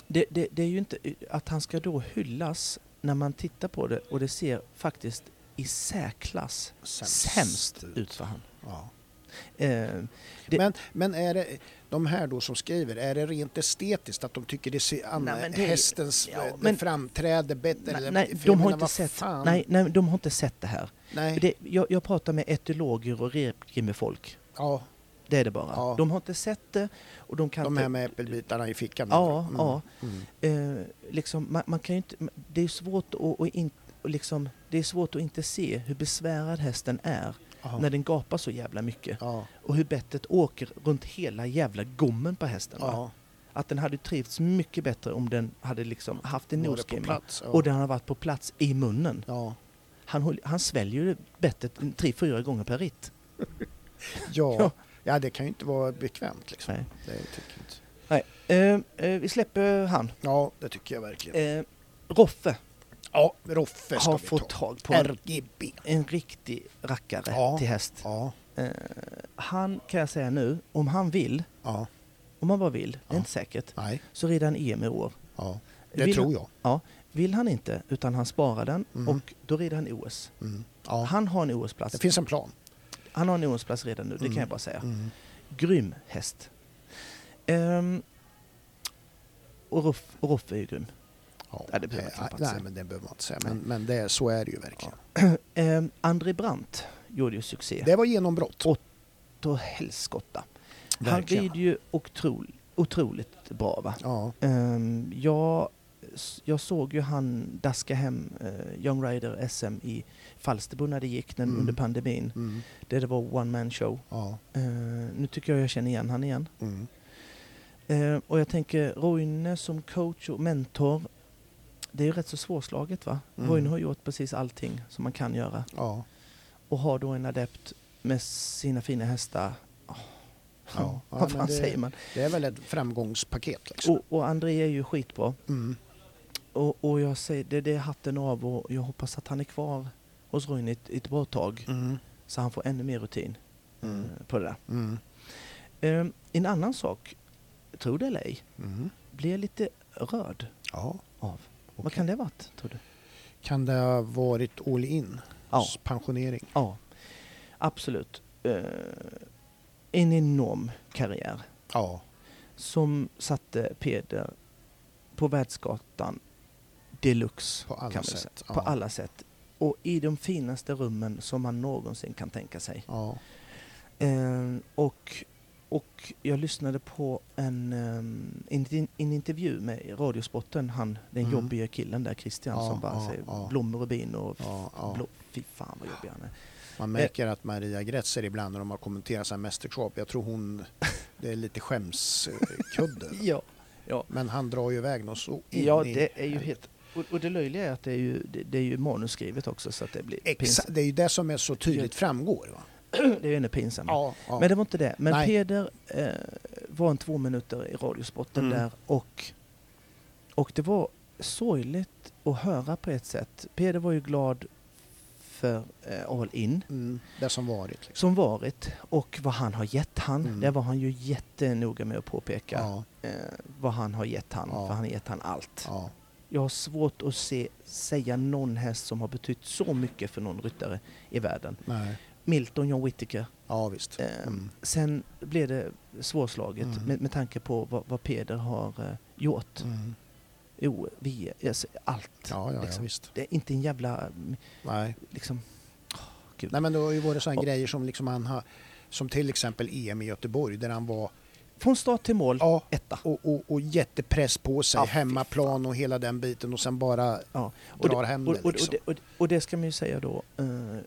det, det, det är ju inte att han ska då hyllas när man tittar på det och det ser faktiskt i särklass sämst, ut för han.
Ja.
Eh, Det-
Men, men är det de här då som skriver, är det rent estetiskt att de tycker det ser an,
Nej, men det är-
hästens
ja,
eh,
men-
framträde bättre?
nej,
eller-
nej,
för jag
de har
menar,
inte
vad
sett,
fan?
nej, nej, de har inte sett det här.
nej.
Det, jag, jag pratar med etologer och repgrimmefolk.
ja,
Det är det bara.
Ja.
De har inte sett det och de kan
de
inte...
här med äppelbitarna i fickan?
Ja,
Mm,
ja.
Mm.
eh, liksom, man, man kan ju inte, ma- det är svårt att, att, in, att liksom, det är svårt att inte se hur besvärad hästen är
Mm. Ja.
när den gapar så jävla mycket.
Ja,
Och hur bettet åker runt hela jävla gommen på hästen. va?
ja.
Att den hade trivts mycket bättre om den hade liksom haft en
Var det på
nosgrimma.
plats? Ja.
Och den har varit på plats i munnen.
ja.
Han, håll- han sväljer ju bettet en tre, fyra gånger per ritt. Ja.
Ja. ja, det kan ju inte vara bekvämt liksom.
Nej.
Det tycker jag inte.
Nej. Eh, eh, vi släpper han.
Ja, det tycker jag verkligen.
Eh, Roffe
Ja, Roffe ska
har
vi
fått
ta.
tag på en,
RGB.
en riktig rackare
Ja.
till häst.
Ja,
Eh, han kan jag säga nu, om han vill,
ja,
om han bara vill, det är
Ja.
inte säkert,
nej,
så rider han EM i år.
ja, Det
vill,
tror jag.
vill han inte, utan han sparar den
Mm.
och då rider han i OS.
Mm. Ja.
Han har en OS-plats.
Det finns en plan.
Han har en OS-plats redan nu, det
Mm.
kan jag bara säga.
Mm.
Grym häst. Ehm, och Ruff, och Ruff är ju grym. Ja, det behöver man
Eh,
knappt
Nej,
säga.
men det behöver man inte säga. Men, men det, är- så är det ju verkligen.
Ehm, André Brandt gjorde ju succé.
Det var genombrott.
Och- Då helskotta. Han
Verkligen.
rider ju otrol, otroligt bra va?
Ja,
Ehm, jag, s- jag såg ju han daska hem eh, Young Rider SM i Falsterbo när det gick den,
Mm.
under pandemin.
mm.
Där det var one man show.
ja.
Ehm, nu tycker jag jag känner igen han igen.
Mm.
Ehm, och jag tänker Roine som coach och mentor. Det är ju rätt så svårslaget va?
Mm.
Roine har gjort precis allting som man kan göra.
ja.
Och har då en adept med sina fina hästar. Åh,
Ja, ja,
Vad
men
fan
det-
säger man?
Det är väl ett framgångspaket. Liksom.
Och, och André är ju skitbra.
Mm.
Och, och jag säger, det, det är hatten av och jag hoppas att han är kvar hos Roine ett, ett bra tag.
Mm.
Så han får ännu mer rutin
Mm.
eh, på det där.
Mm.
Ehm, en annan sak, tro det eller ej,
Mm.
blir jag lite rörd
Ja.
av. Vad
Okej.
kan det ha varit, tror du?
Kan det ha varit all in?
Ja.
S- Pensionering?
Ja, absolut. Eh, en enorm karriär
Ja.
som satte Peder på världsgatan deluxe.
På alla
kan man
sätt.
säga.
Ja.
På alla sätt. Och i de finaste rummen som man någonsin kan tänka sig.
Ja.
Eh, och, och jag lyssnade på en, eh, en, en intervju med Radiosporten, han, den
Mm.
jobbige killen där, Christian,
Ja,
som bara
ja,
säger
ja.
blommor och bin och
Ja, ja.
blå, Eh. fy fan vad jobbig han är.
Man märker att Maria Grätzer ibland när de har kommenterat så här mästerskap, jag tror hon, det är lite skämskudde.
Ja, ja.
Men han drar ju iväg något så in
Ja,
i
det är ju
helvete.
helt... Och, och det löjliga är att det är ju, det, det är ju manusskrivet också så att det blir
Exa- det är ju det som är så tydligt framgår. Va?
pinsamt. Det är ju ännu pinsammare.
Ja, ja.
Men det var inte det. Men
Nej.
Peder eh, var en två minuter i Radiosporten
Mm.
där och, och det var sorgligt att höra på ett sätt. Peder var ju glad för eh, All In
Mm, det som varit. Liksom.
som varit och vad han har gett han.
Mm.
Där var han ju jättenoga med att påpeka
Ja,
eh, vad han har gett han.
Ja.
För han har gett han allt.
ja,
Jag har svårt att se, säga någon häst som har betytt så mycket för någon ryttare i världen.
nej.
Milton, John Whittaker.
ja visst.
Eh,
Mm.
Sen blev det svårslaget
Mm.
med, med tanke på vad, vad Peder har eh, gjort.
Mm.
Jo, vi, alltså, allt.
Ja, ja, ja,
liksom.
visst.
Det är inte en jävla... mm,
Nej.
Liksom,
Nej, men det har ju varit sådana
Och-
grejer som liksom han har, som till exempel EM i Göteborg där han var
från start till mål,
ja,
etta.
och, och, och jättepress på sig,
Mm. Ja, fy
hemmaplan och hela den biten och sen bara
Ja. Och, det,
drar hem
och, och,
det
och,
liksom.
det, och, och det ska man ju säga då, eh,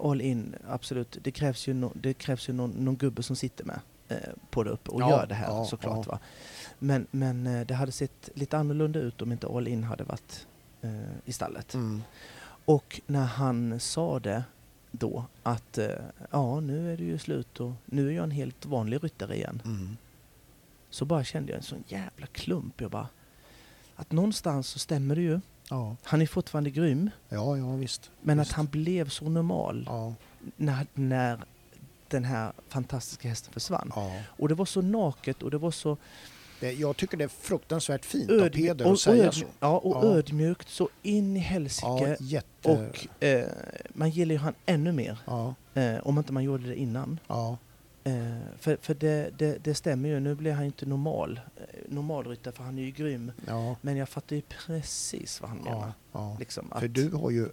all in, absolut. Det krävs ju, nå- det krävs ju någon, någon gubbe som sitter med eh, på det uppe och
Ja,
gör det här
ja,
såklart.
ja.
Va? Men, men eh, det hade sett lite annorlunda ut om inte all in hade varit eh, i stallet.
Mm.
Och när han sa det då att eh, ja, nu är det ju slut och nu är jag en helt vanlig ryttare igen.
Mm.
Så bara kände jag en sån jävla klump. Jag bara, att någonstans så stämmer det ju.
Ja,
Han är fortfarande grym.
ja, ja visst.
Men
visst.
att han blev så normal
Ja,
när, när den här fantastiska hästen försvann.
ja.
Och det var så naket och det var så
Det, jag tycker det är fruktansvärt fint av
ödmjukt
Peder
och,
att
och,
säga
ödm-
så.
ja, och
Ja.
ödmjukt så in i
Ja,
helsike.
jätte...
och eh, man gillar ju han ännu mer
Ja,
eh, om inte man gjorde det innan.
ja,
Eh, för för det, det, det stämmer ju, nu blir han ju inte normal. Eh, Normalryttare för han är ju grym.
ja,
Men jag fattar ju precis vad han menar.
ja, ja.
Liksom
För
att,
du har ju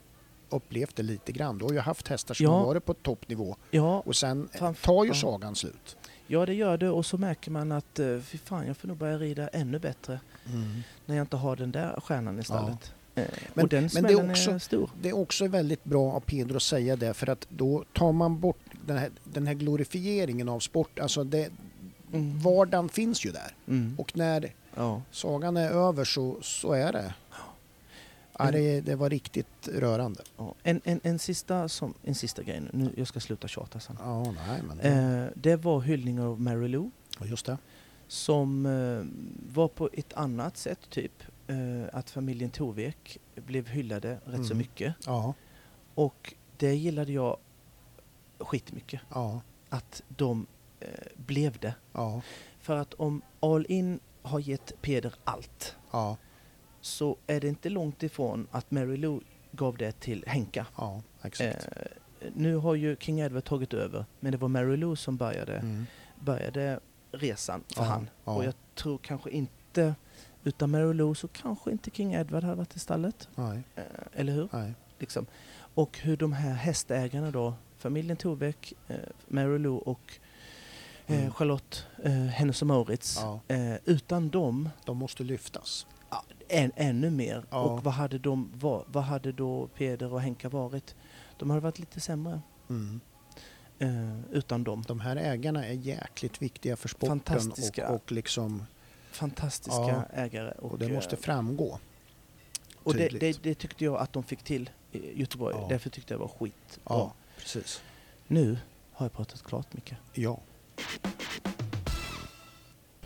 upplevt det lite grann. Du har ju haft hästar som
Ja.
har varit på toppnivå
ja,
och sen eh,
Framför-
tar ju
ja.
sagan slut.
ja, det gör det och så märker man att eh, fy fan, jag får nog börja rida ännu bättre. när jag inte har den där stjärnan i stallet. Eh,
Men-
och den
men det är
smällen är,
också-
stor.
Det är också väldigt bra av Pedro att säga det för att då tar man bort den här, den här glorifieringen av sport. Alltså det,
Mm.
vardagen finns ju där
Mm.
och när
Ja.
sagan är över så, så är det. Ja, det, det var riktigt rörande.
Ja. En, en, en, sista som, en sista grej nu, nu jag ska sluta tjata sen.
Ja, nej, men
Eh, det var hyllningen av Mary Lou
Ja, just det.
som eh, var på ett annat sätt typ. Eh, att familjen Torvek blev hyllade rätt så
Mm.
mycket.
Ja,
Och det gillade jag skitmycket.
ja,
Att de eh, blev det.
ja,
För att om All In har gett Peder allt
ja,
så är det inte långt ifrån att Mary Lou gav det till Henka.
Ja, exakt.
Eh, nu har ju King Edward tagit över, men det var Mary Lou som började,
Mm.
började resan Eh, för
Ja,
han.
ja.
Och jag tror kanske inte, utan Mary Lou så kanske inte King Edward hade varit i stallet.
Nej,
Eh, eller hur?
nej.
Liksom. Och hur de här hästägarna då, familjen Torbeck, eh, Mary Lou och eh,
Mm.
Charlotte, eh, Hennes och Mauritz.
Ja,
Eh, utan dem,
de måste lyftas.
än, ännu mer.
Ja.
Och vad hade, de, va- vad hade då Peder och Henka varit? De hade varit lite sämre
Mm.
eh, utan dem.
De här ägarna är jäkligt viktiga för sporten
Fantastiska.
och, och, liksom,
Fantastiska
Ja.
ägare. Och,
och det måste
eh,
framgå.
och det,
tydligt.
det, det tyckte jag att de fick till i Göteborg.
Ja.
Därför tyckte jag det var skitbra.
Ja, precis.
Nu har jag pratat klart, Micke.
Ja.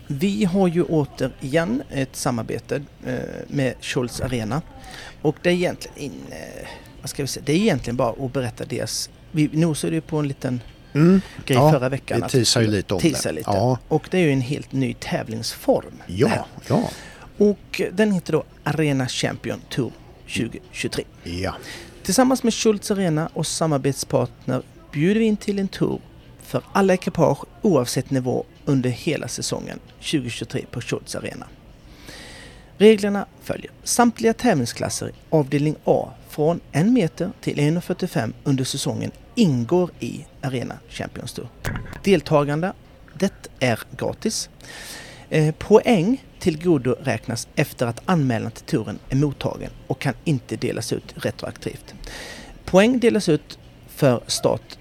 Vi har ju återigen ett samarbete eh, med Scholz Arena. Och det är egentligen, in, eh, vad ska vi säga, det är egentligen bara att berätta deras... Vi nosade ju på en liten
Mm.
grej
Ja,
förra veckan.
Vi
att-
teasar ju lite om
teasar
det.
lite.
Ja,
Och det är ju en helt ny tävlingsform. det här.
ja, ja.
Och den heter då Arena Champion Tour 2023.
ja.
Tillsammans med Schultz Arena och samarbetspartner bjuder vi in till en tour för alla ekipage oavsett nivå under hela säsongen 2023 på Schultz Arena. Reglerna följer samtliga tävlingsklasser i avdelning A från 1 meter till 1,45 under säsongen ingår i Arena Champions Tour. Deltagande, det är gratis. Eh, Poäng till godo räknas efter att anmälan till turen är mottagen och kan inte delas ut retroaktivt. Poäng delas ut för start,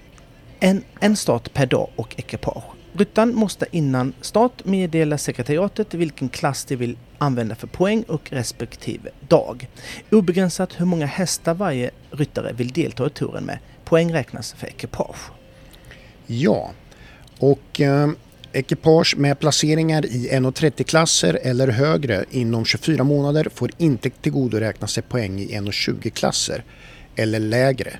en, en start per dag och ekipage. Ryttaren måste innan start meddela sekretariatet vilken klass de vill använda för poäng och respektive dag. Obegränsat hur många hästar varje ryttare vill delta i turen med. Poäng räknas för ekipage.
Ja, och eh, ekipage med placeringar i 1,30-klasser eller högre inom 24 månader får inte tillgodoräkna sig poäng i 1,20-klasser eller lägre.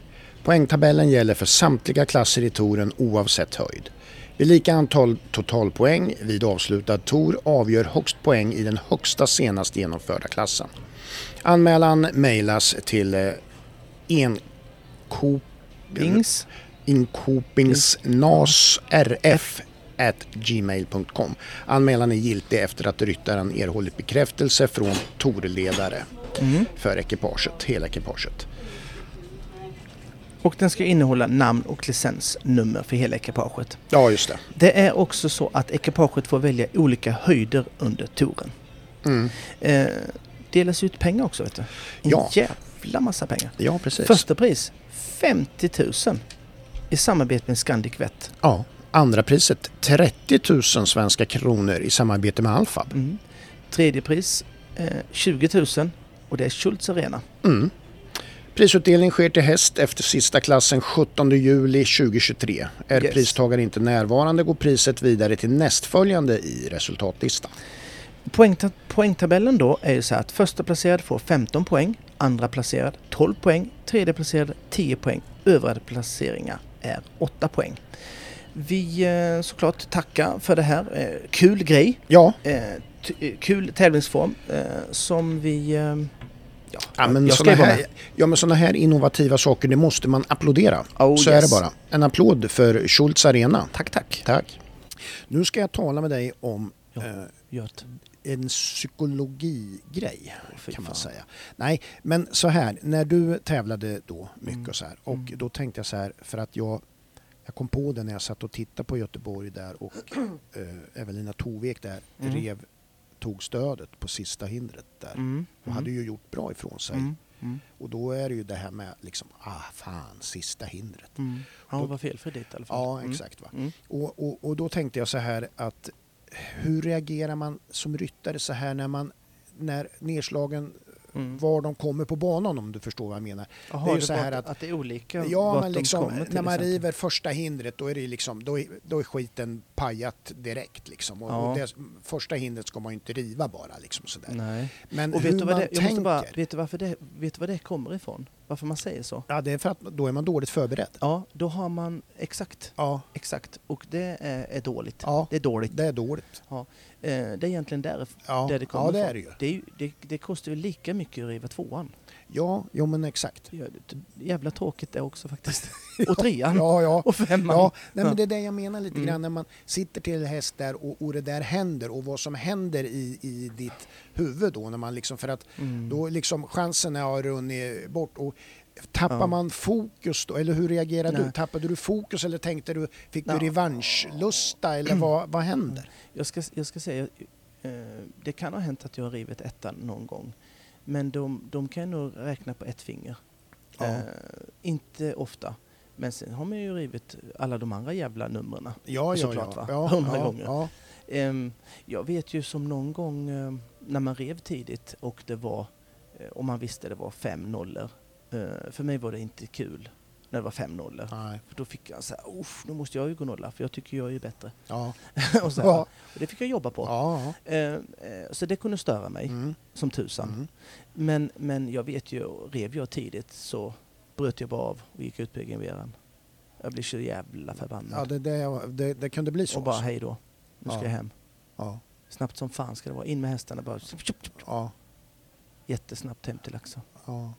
Poängtabellen gäller för samtliga klasser i touren oavsett höjd. Vid lika antal totalpoäng vid avslutad tour avgör högst poäng i den högsta senast genomförda klassen. Anmälan mejlas till eh, enkop...
Bings.
inkopingsnasrf.gmail.com. Anmälan är giltig efter att ryttaren erhållit bekräftelse från torledare
Mm.
för ekipaget, hela ekipaget.
Och den ska innehålla namn och licensnummer för hela ekipaget.
Ja, just det.
Det är också så att ekipaget får välja olika höjder under touren.
Mm.
Eh, delas ut pengar också vet du. En
Ja.
jävla massa pengar.
Ja, precis.
Första pris 50 000 i samarbete med Scandic Vett.
Ja. Andra priset 30 000 svenska kronor i samarbete med Alfab.
Mm. Tredje pris eh, 20 000 och det är Schultz Arena.
Mm. Prisutdelning sker till häst efter sista klassen 17 juli 2023. Är
Yes.
pristagare inte närvarande går priset vidare till nästföljande i resultatlistan.
Poängta- poängtabellen då är ju så här att första placerad får 15 poäng, andra placerad 12 poäng, tredje placerad 10 poäng, övriga placeringar är 8 poäng. Vi eh, såklart tackar för det här. Eh, Kul grej,
Ja,
eh, t- eh, kul tävlingsform eh, som vi... eh, Ja,
Ja men,
jag ska
såna
ju vara
här,
med.
ja, men såna här innovativa saker, det måste man applådera.
Oh,
Så är
yes.
det bara. En applåd för Schultz Arena.
Tack, tack.
Tack. Nu ska jag tala med dig om
Ja.
eh,
Gör ett-
en psykologigrej,
fy
kan man
fan.
säga. Nej, men så här, när du tävlade då mycket
Mm.
och så här, och
Mm.
då tänkte jag så här, för att jag, jag kom på det när jag satt och tittade på Göteborg där och eh, Evelina Tovek där
Mm.
rev, tog stödet på sista hindret där.
Mm,
Hon hade
mm,
ju gjort bra ifrån sig.
mm, mm,
Och då är det ju det här med liksom, ah fan, sista hindret.
mm. Ja,
Då-
vad felfri dit i alla fall.
Ja,
Mm,
exakt. Va?
Mm.
Och, och, och då tänkte jag så här att hur reagerar man som ryttare så här när man när nedslagen,
Mm.
var de kommer på banan om du förstår vad jag menar.
Jaha,
det är ju
det
så
var
här
att,
att-
att det är olika
Ja,
vart
men
de
liksom,
kommer, till
när man
exempel.
river första hindret då är, det liksom, då är, då är skiten pajat direkt. Liksom. Och,
Ja.
och det, första hindret ska man ju inte riva bara. Liksom, sådär.
Nej.
Men
Och
hur
vet du, vad
man
det, jag
tänker.
måste bara, vet du varför det, vet du var det kommer ifrån? varför man säger så.
Ja, det är för att då är man dåligt förberedd.
Ja, då har man exakt,
Ja,
exakt. Och det är, är dåligt.
ja
Det är dåligt.
det är dåligt.
Eh, det är egentligen där,
Ja,
där det kommer
ja det
ifrån.
är det ju.
Det, är ju, det, det kostar ju lika mycket att riva tvåan.
Ja, jo men exakt.
Det gör det. Jävla tråkigt det också faktiskt. Och trean.
Ja, ja.
Och femman.
Ja, nej, men det är det jag menar lite
Mm.
grann när man sitter till häst där och, och det där händer och vad som händer i, i ditt huvud då när man liksom för att
Mm.
då liksom chansen har runnit bort och tappar
Ja.
man fokus då eller hur reagerar du?
Nej.
Tappade du fokus eller tänkte du fick du
Ja. Mm.
revanschlusta eller vad, vad händer?
Jag ska, jag ska säga, eh, det kan ha hänt att jag har rivit ettan någon gång. Men de, de kan jag nog räkna på ett finger.
Ja.
Eh, inte ofta. Men sen har man ju rivit alla de andra jävla numren.
Ja, ja,
Såklart,
ja.
va?
ja,
Hundra
ja,
gånger.
Ja,
Ehm, jag vet ju som någon gång ehm, när man rev tidigt och det var, eh, om man visste det var fem nollor. Eh, för mig var det inte kul när det var fem nollor.
nej,
För då fick jag så här, "Uff, nu måste jag ju gå nolla för jag tycker jag är ju bättre.
ja,
och, så här,
ja,
och det fick jag jobba på.
ja,
Eh, eh, så det kunde störa mig
mm,
som tusan.
mm.
Men, men jag vet ju, rev jag tidigt så bröt jag bara av och gick ut på egen veran. Jag blev så jävla förbannad.
ja det, det, det, det kunde bli så.
och bara
alltså.
hej då, nu ska
Ja.
jag hem.
ja,
Snabbt som fan ska det vara. In med hästarna bara. tjup, tjup, tjup.
ja,
Jättesnabbt hem till Laxå.
ja.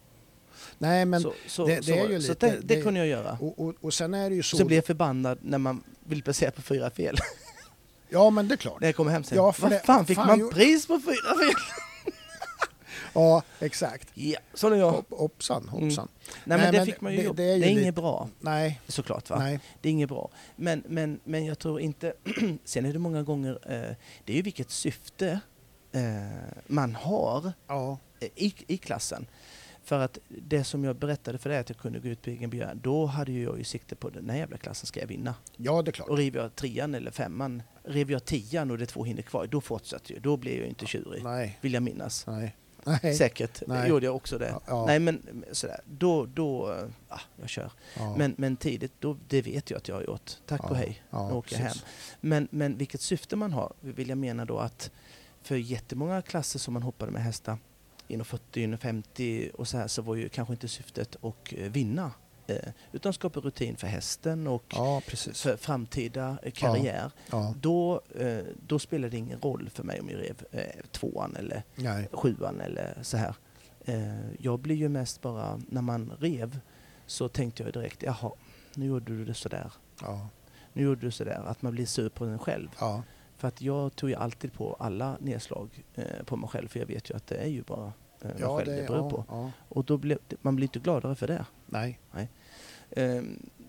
Nej, men
så så,
det- det
så,
är ju
så
lite-
det, det
det-
kunde jag göra.
Och, och, och sen är det ju så...
Sen blev jag förbannad när man vill placera på fyra fel.
Ja, men det är klart.
när jag kommer hem sen.
Ja, för
Vad
det-
fan fick
fan,
man
jag-
pris på fyra fel?
Ja, exakt.
ja, Mm. så är jag.
Hopp, hoppsan, hoppsan.
Nej,
Nej,
men det
men
fick man ju
det-
jobb.
det
Det
är
är,
ju lite-
inget bra
Nej,
såklart. Va?
nej.
Det är inget bra. Men, men, men jag tror inte... Sen är det många gånger... Eh, det är ju vilket syfte eh, man har
Ja,
eh, i, i klassen. För att det som jag berättade för dig att jag kunde gå ut på egen begäran, då hade ju jag ju sikte på den här jävla klassen ska jag vinna.
ja det är klart.
Och river jag trean eller femman, river jag tian och det är två hinder kvar, då fortsätter jag. Då blir jag ju inte tjurig,
Nej,
vill jag minnas.
nej. Nej.
Säkert
Nej.
gjorde jag också det.
Ja, ja,
Nej men sådär, då, då, eh, ah, jag kör.
ja,
Men, men tidigt, då, det vet jag att jag har gjort. Tack
ja,
och hej.
Ja,
och åka
precis.
Men, men vilket syfte man har vill jag mena då att för jättemånga klasser som man hoppade med hästar inom 40, inom 50 och så här så var ju kanske inte syftet att eh, vinna eh, utan skapa rutin för hästen och
Ja, precis.
för framtida eh, karriär.
Ja,
Då, eh, då spelar det ingen roll för mig om jag rev eh, tvåan eller
nej.
sjuan eller så här. Eh, jag blir ju mest bara, när man rev så tänkte jag direkt, jaha, nu gjorde du det sådär.
Ja,
Nu gjorde du sådär, att man blir sur på den själv.
ja,
För att jag tog ju alltid på alla nedslag eh, på mig själv, för jag vet ju att det är ju bara eh, mig
ja,
själv det,
det,
beror
ja,
på.
ja.
Och då blir, man blir inte gladare för det.
Nej,
Eh,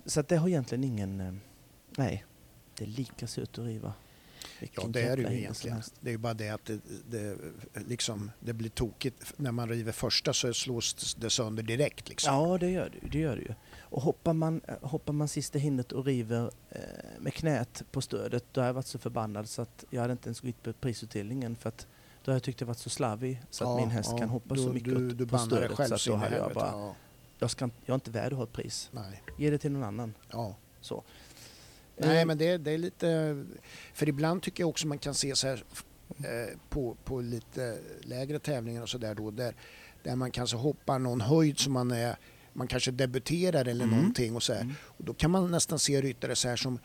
så att det har egentligen ingen, eh, nej, det är lika surt att riva.
ja,
Vilken
det är det
jävla
ju
hinder som
egentligen.
helst.
Det är ju bara det att det, det, liksom, det blir tokigt. När man river första så slås det sönder direkt. Liksom.
Ja, det gör det, ju, det gör det ju. Och hoppar man, eh, hoppar man sista hindret och river eh, med knät på stödet, då har jag varit så förbannad så att jag hade inte ens gått på prisutdelningen för att då har jag tyckt jag varit så slarvig så att
Ja,
min häst
ja.
kan hoppa
du,
så mycket
du,
åt-
du
på
bannar dig
stödet
själv
så att
så
då
in i
hade jag
helvete.
bara,
Ja,
jag, ska, inte- jag är inte värd att ha ett pris.
nej.
Ge det till någon annan.
Ja.
Så.
Nej,
Eh,
men det, det är lite... För ibland tycker jag också man kan se så här eh, på, på lite lägre tävlingar och så där då där, där man kanske hoppar någon höjd som man är man kanske debuterar eller
Mm.
någonting och så här.
mm.
Och då kan man nästan se ryttare så här som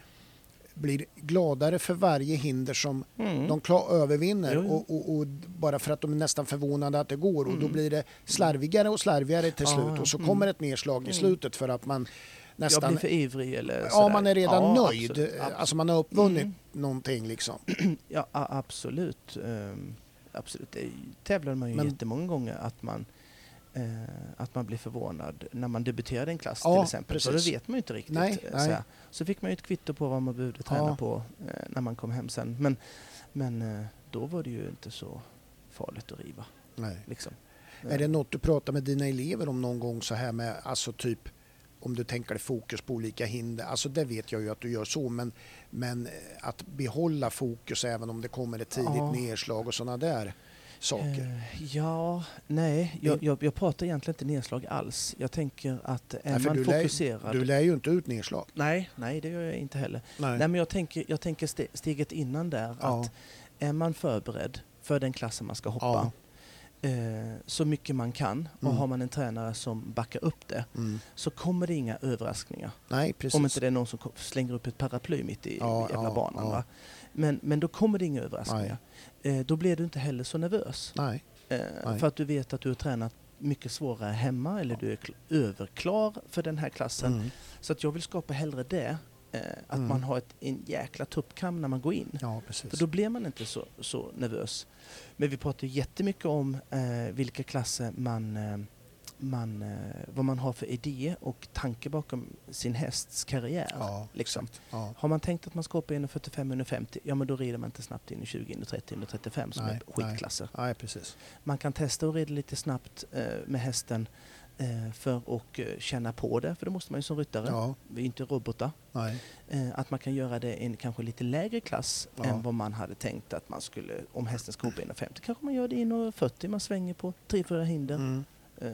blir gladare för varje hinder som
Mm.
de klar, övervinner
Jo, jo.
Och, och, och bara för att de är nästan förvånade att det går och då
Mm.
blir det slarvigare och slarvigare till
Ja,
slut
ja.
och så
Mm.
kommer ett nedslag i
Mm.
slutet för att man
jag
nästan
blir för ivrig eller
Ja,
sådär.
man är redan
Ja,
nöjd.
absolut, absolut.
Alltså man har uppvunnit
Mm.
någonting liksom.
Ja, a- absolut. Ehm, absolut. Det tävlade man ju
Men-
jättemånga gånger att man, eh, att man blir förvånad när man debuterade i en klass
Ja,
till exempel. För
precis.
det vet man ju inte riktigt.
Nej,
eh,
nej.
Så, här. så fick man ju ett kvitto på vad man behövde träna
Ja.
på eh, när man kom hem sen. Men, men eh, då var det ju inte så farligt att riva.
Nej.
Liksom.
Är det något du pratar med dina elever om någon gång så här med, alltså typ om du tänker dig fokus på olika hinder, alltså det vet jag ju att du gör så, men, men eh, att behålla fokus även om det kommer ett tidigt
Ja.
nedslag och sådana där saker.
Eh, Ja, nej. Jag, jag, jag pratar egentligen inte nedslag alls. Jag tänker att är
Nej, för
man
du lär-
fokuserad...
Du lär ju inte ut nedslag.
Nej, nej, det gör jag inte heller.
Nej.
Nej, men jag tänker, jag tänker ste- steget innan där.
Ja.
Att är man förberedd för den klassen man ska hoppa
Ja.
eh, så mycket man kan och
Mm.
har man en tränare som backar upp det
Mm.
så kommer det inga överraskningar.
Nej, precis.
Om inte det är någon som ko- slänger upp ett paraply mitt i
Ja,
jävla
ja,
banan.
ja.
Va? Men, men då kommer det inga överraskningar. Eh, då blir du inte heller så nervös.
Nej,
Eh,
Nej.
för att du vet att du har tränat mycket svårare hemma eller du är kl- överklar för den här klassen.
mm.
Så att jag vill skapa hellre det. Eh, att
Mm.
man har ett, en jäkla tuppkam när man går in.
ja, precis.
För då blir man inte så, så nervös. Men vi pratar ju jättemycket om eh, vilka klasser man, eh, man, eh, vad man har för idé och tanke bakom sin hästs karriär.
ja,
liksom.
exakt. Ja.
Har man tänkt att man ska hoppa in i 45 under 50, ja men då rider man inte snabbt in i 20, in i 30, in i 35 som
Nej,
är skitklasser.
Nej, precis.
Man kan testa att rida lite snabbt eh, med hästen eh, för att eh, känna på det, för det måste man ju som ryttare.
Ja,
Vi är inte robotar.
nej.
Eh, att man kan göra det i en kanske lite lägre klass
Ja.
än vad man hade tänkt att man skulle, om hästen ska hoppa in i 50, kanske man gör det i 140, man svänger på 3-4 hinder
Mm.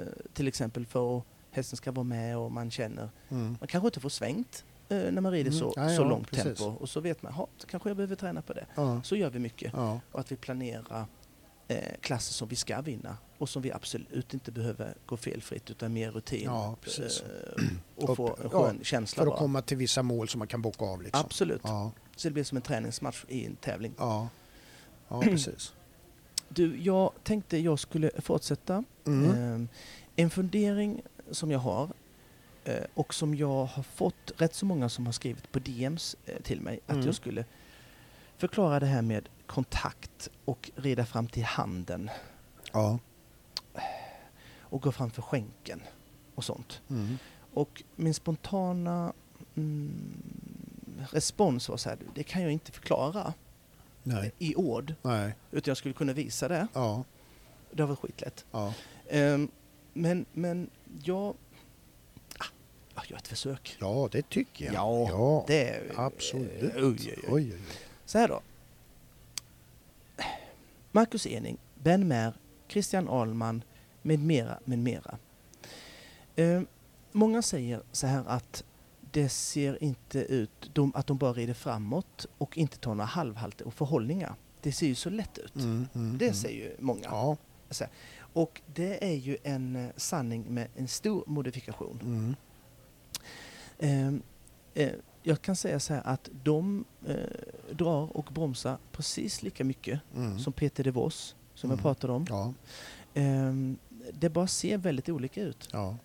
eh, till exempel för att hästen ska vara med och man känner,
Mm.
man kanske inte får svängt eh, när man rider
Mm.
så,
Ja, ja,
så långt
precis.
tempo och så vet man, "Ha, så kanske jag behöver träna på det.
Ja,
Så gör vi mycket
ja,
och att vi planerar eh, klasser som vi ska vinna och som vi absolut inte behöver gå felfritt utan mer rutin
ja, precis.
eh, och få en
Upp- ja,
skön känsla
För att
bara.
komma till vissa mål som man kan bocka av. Liksom.
Absolut.
Ja,
Så det blir som en träningsmatch i en tävling.
ja, ja precis.
Du, jag tänkte jag skulle fortsätta.
Mm.
Ehm, En fundering som jag har eh, och som jag har fått rätt så många som har skrivit på DMs eh, till mig att
Mm.
jag skulle förklara det här med kontakt och rida fram till handen
Ja.
och gå framför skänken och sånt.
Mm.
Och min spontana mm, respons var så här, det kan jag inte förklara
Nej.
i ord
Nej.
utan jag skulle kunna visa det.
Ja.
Det har varit skitlätt.
Ja.
Ehm, men, men jag... Ah, jag gör ett försök.
ja, det tycker jag.
Ja,
ja.
Det är...
absolut.
Oj, oj, oj.
Oj, oj,
Så här då. Marcus Ening, Ben Mer, Christian Ahlman med mera, med mera. Ehm, många säger så här att det ser inte ut, de, att de bara rider framåt och inte tar några halvhalter och förhållningar. Det ser ju så lätt ut.
oj. Mm, mm,
Det
mm.
säger ju många.
Ja.
Och det är ju en eh, sanning med en stor modifikation.
Mm.
Eh, eh, jag kan säga så här att de eh, drar och bromsar precis lika mycket
Mm.
som Peter DeVos, som
Mm.
jag pratade om.
Ja.
Eh, det bara ser väldigt olika ut.
Ja.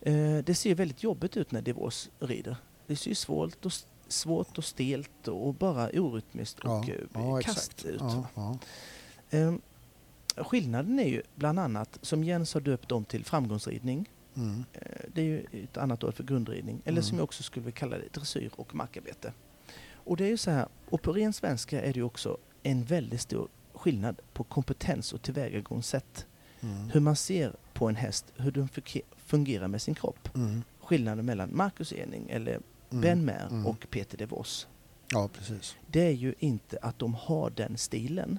Eh, det ser väldigt jobbigt ut när DeVos rider. Det ser ju svårt och, svårt och stelt och bara orytmiskt
Ja.
och eh,
ja,
kast
exakt.
ut.
Ja, ja.
Ehm, skillnaden är ju bland annat, som Jens har döpt om till framgångsridning,
Mm.
Eh, Det är ju ett annat ord för grundridning, eller
Mm.
som jag också skulle vilja kalla det, dressyr och markarbete. Och det är ju så här, och på ren svenska är det ju också en väldigt stor skillnad på kompetens och tillvägagångssätt.
Mm.
Hur man ser på en häst, hur den funke- fungerar med sin kropp.
Mm.
Skillnaden mellan Marcus Ening, eller
Mm.
Ben Mer
Mm.
och Peter DeVos.
Ja, precis.
Det är ju inte att de har den stilen,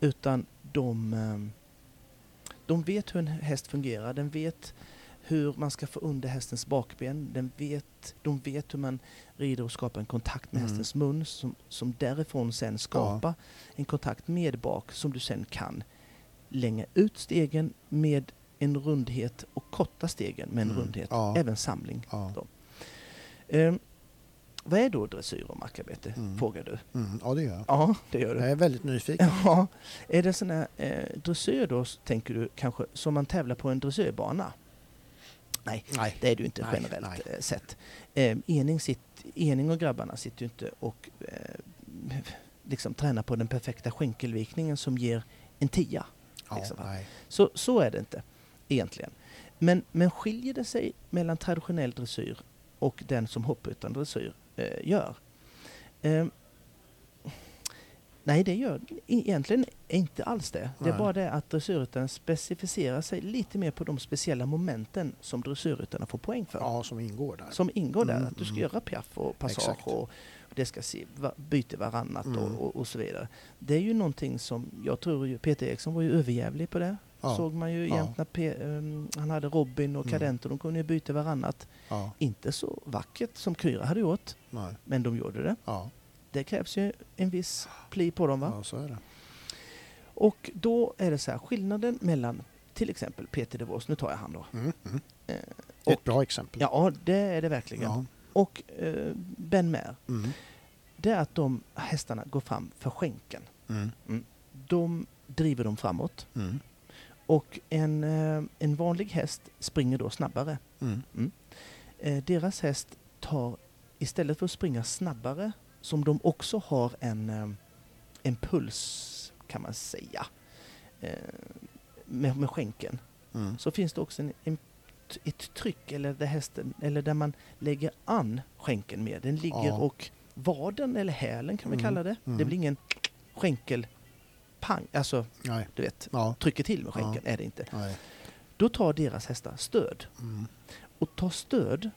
utan de, ehm, de vet hur en häst fungerar, den vet hur man ska få under hästens bakben, den vet, de vet hur man rider och skapar en kontakt med
Mm.
hästens mun som, som därifrån sen skapar en kontakt med bak som du sen kan länga ut stegen med en rundhet och korta stegen med en
Mm.
rundhet,
Ja.
även samling.
Ja.
Ehm, vad är då dressyr och markarbete,
Mm.
frågar du?
Mm. ja, det gör jag.
Ja, det gör du.
Jag är väldigt nyfiken.
Ja, är det sån här eh, dressyr då, s- tänker du kanske, som man tävlar på en dressyrbana? Nej,
Nej.
det är du inte
Nej,
generellt
nej.
eh, sett. Eh, ening, sitt, ening och grabbarna sitter ju inte och eh, liksom tränar på den perfekta skänkelvikningen som ger en tia.
Ja,
liksom.
nej.
Så, så är det inte egentligen. Men, men skiljer det sig mellan traditionell dressyr och den som hoppryttaren dressyr eh, gör? Ehm, nej, det gör e-, egentligen inte alls det. Det
Nej.
är bara det att dressyrryttaren specificerar sig lite mer på de speciella momenten som dressyrryttarna får poäng för.
Ja, som ingår där.
Som ingår där,
Mm,
att du ska
mm.
göra piaff och passage
Exakt.
och det ska se, va, byta varannat
Mm.
och, och, och så vidare. Det är ju någonting som, jag tror ju, Peter Eriksson var ju överjävlig på det.
Ja.
Såg man ju
Ja.
jämt när P, ehm, han hade Robin och
Mm.
Cadento, de kunde ju byta varannat.
Ja,
Inte så vackert som Kyra hade gjort,
nej.
men de gjorde det.
Ja,
Det krävs ju en viss pli på dem va?
ja, så är det.
Och då är det så här, skillnaden mellan till exempel Peter DeVos, nu tar jag han då.
Mm, mm.
Eh, och-
Ett bra exempel.
Ja, det är det verkligen.
Ja.
Och eh, Ben Mer,
Mm,
det är att de hästarna går fram för skänken.
mm,
De driver dem framåt
mm,
och en, eh, en vanlig häst springer då snabbare.
mm,
Eh, deras häst tar, istället för att springa snabbare, som de också har en, eh, en puls kan man säga, eh, med, med skänken,
mm.
så finns det också en, en, ett tryck eller där, hästen, eller där man lägger an skänken mer. Den ligger
Ja.
och vaden eller hälen kan vi
Mm,
kalla det. Det
mm.
blir ingen skänkel, pang, alltså
Nej.
du vet,
Ja.
trycker till med skänken är det inte.
Nej.
Då tar deras hästar stöd.
Mm.
Och ta stöd,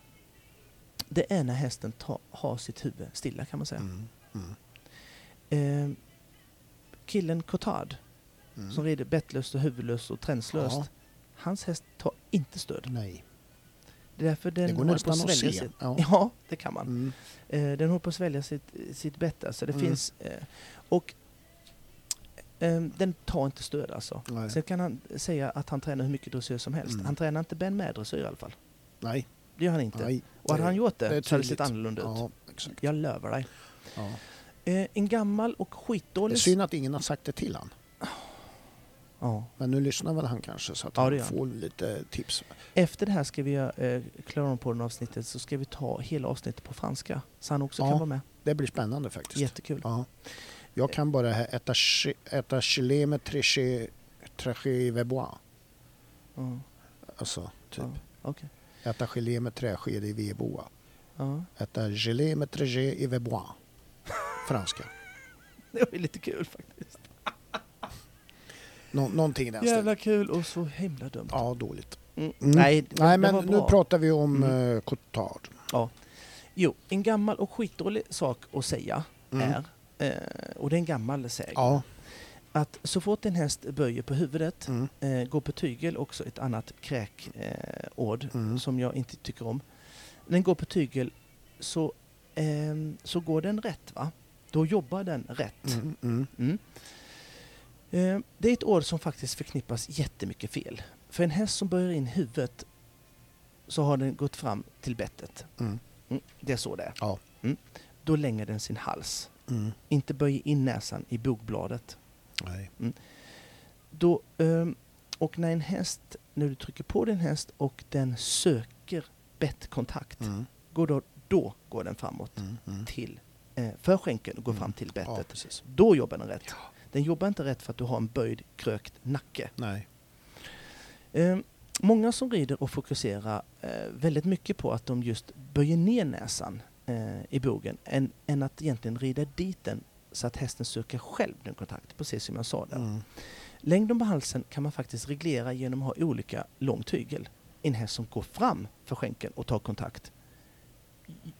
det är när hästen ta, har sitt huvud stilla kan man säga.
Mm. Mm.
Eh, killen Cotard,
Mm.
som rider bettlöst och huvudlöst och tränslöst,
Ja.
hans häst tar inte stöd.
Nej.
Det är därför den
Det går
håller på att
nästan att
svälja
se.
sitt...
Ja.
Ja, det kan man.
Mm.
Eh, den håller på att svälja sitt, sitt bett. Alltså det
Mm.
finns... Eh, och eh, den tar inte stöd alltså.
Nej.
Sen kan han säga att han tränar hur mycket dressyr som helst.
Mm.
Han tränar inte Ben med dressyr i alla fall.
Nej.
Det gör han inte.
Nej.
Och hade han gjort det,
Det är
så hade det sett
tydligt.
annorlunda ut.
Ja, exakt.
Jag lövar dig.
Ja.
Eh, en gammal och
Det är
skitdålig...
synd att ingen har sagt det till han.
ja.
Men nu lyssnar väl han kanske så att
Ja, det
han
gör han.
får lite tips.
Efter det här ska vi göra eh, klara om på den avsnittet så ska vi ta hela avsnittet på franska. Så han också
Ja,
kan vara med.
Det blir spännande faktiskt.
Jättekul.
Ja. Jag kan bara det här äta, chi- äta gelé med triché, triché vebois.
Ja,
Alltså, typ.
ja, okej.
Äta gelé med träsked i vebois.
Ja.
Äta gelé med träsked i vebois. Franska.
Det var lite kul faktiskt.
Nå- någonting i den
Jävla kul och så himla dumt.
Ja, dåligt.
Mm.
Mm.
Nej, det-
Nej,
det var
men nu
bra.
pratar vi om
Mm.
mm. Cotard.
Jo, en gammal och skitdålig sak att säga
Mm.
är, eh, och det är en gammal säg,
Ja.
att så fort en häst böjer på huvudet,
Mm.
eh, går på tygel, också ett annat kräkord eh, ord
Mm.
som jag inte tycker om. Den går på tygel så, ehm, så går den rätt va? Då jobbar den rätt.
Mm. Mm.
Mm. Eh, det är ett ord som faktiskt förknippas jättemycket fel. För en häst som böjer in huvudet så har den gått fram till bettet.
Mm.
Mm, det är så det är.
Ja.
Mm. Då länger den sin hals.
Mm.
Inte böjer in näsan i bogbladet.
Nej.
Då, ehm, och när en häst, när du trycker på din häst och den söker bettkontakt,
Mm.
går då, då går den framåt
Mm. Mm.
till eh, för skänkeln och går
Mm.
fram till
Ja,
bettet.
precis.
Då jobbar den rätt. Den jobbar inte rätt för att du har en böjd, krökt nacke.
Nej.
Eh, många som rider och fokuserar eh, väldigt mycket på att de just böjer ner näsan eh, i bogen än, än att egentligen rida dit den så att hästen söker själv den kontakt, precis som jag sa där.
Mm.
Längden på halsen kan man faktiskt reglera genom att ha olika lång tygel. En häst som går fram för skänken och tar kontakt j-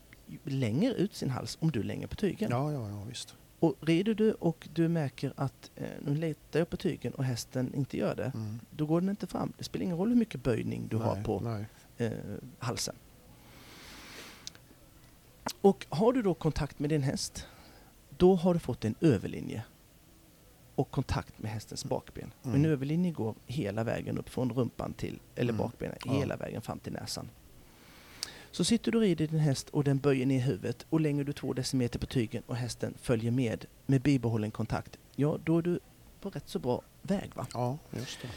längre ut sin hals om du länger på tygeln.
Ja, ja, ja, visst.
Och rider du och du märker att eh, nu letar jag på tygeln och hästen inte gör det,
Mm.
då går den inte fram. Det spelar ingen roll hur mycket böjning du
nej,
har på
Nej.
eh, halsen. Och har du då kontakt med din häst, då har du fått en överlinje och kontakt med hästens bakben. Och En
Mm.
överlinje går hela vägen upp från rumpan till, eller
Mm.
bakbenen,
Ja.
hela vägen fram till näsan. Så sitter du och rider din häst och den böjer ner huvudet och lägger du två decimeter på tygen och hästen följer med med bibehållen kontakt, ja då är du på rätt så bra väg va?
Ja, just det.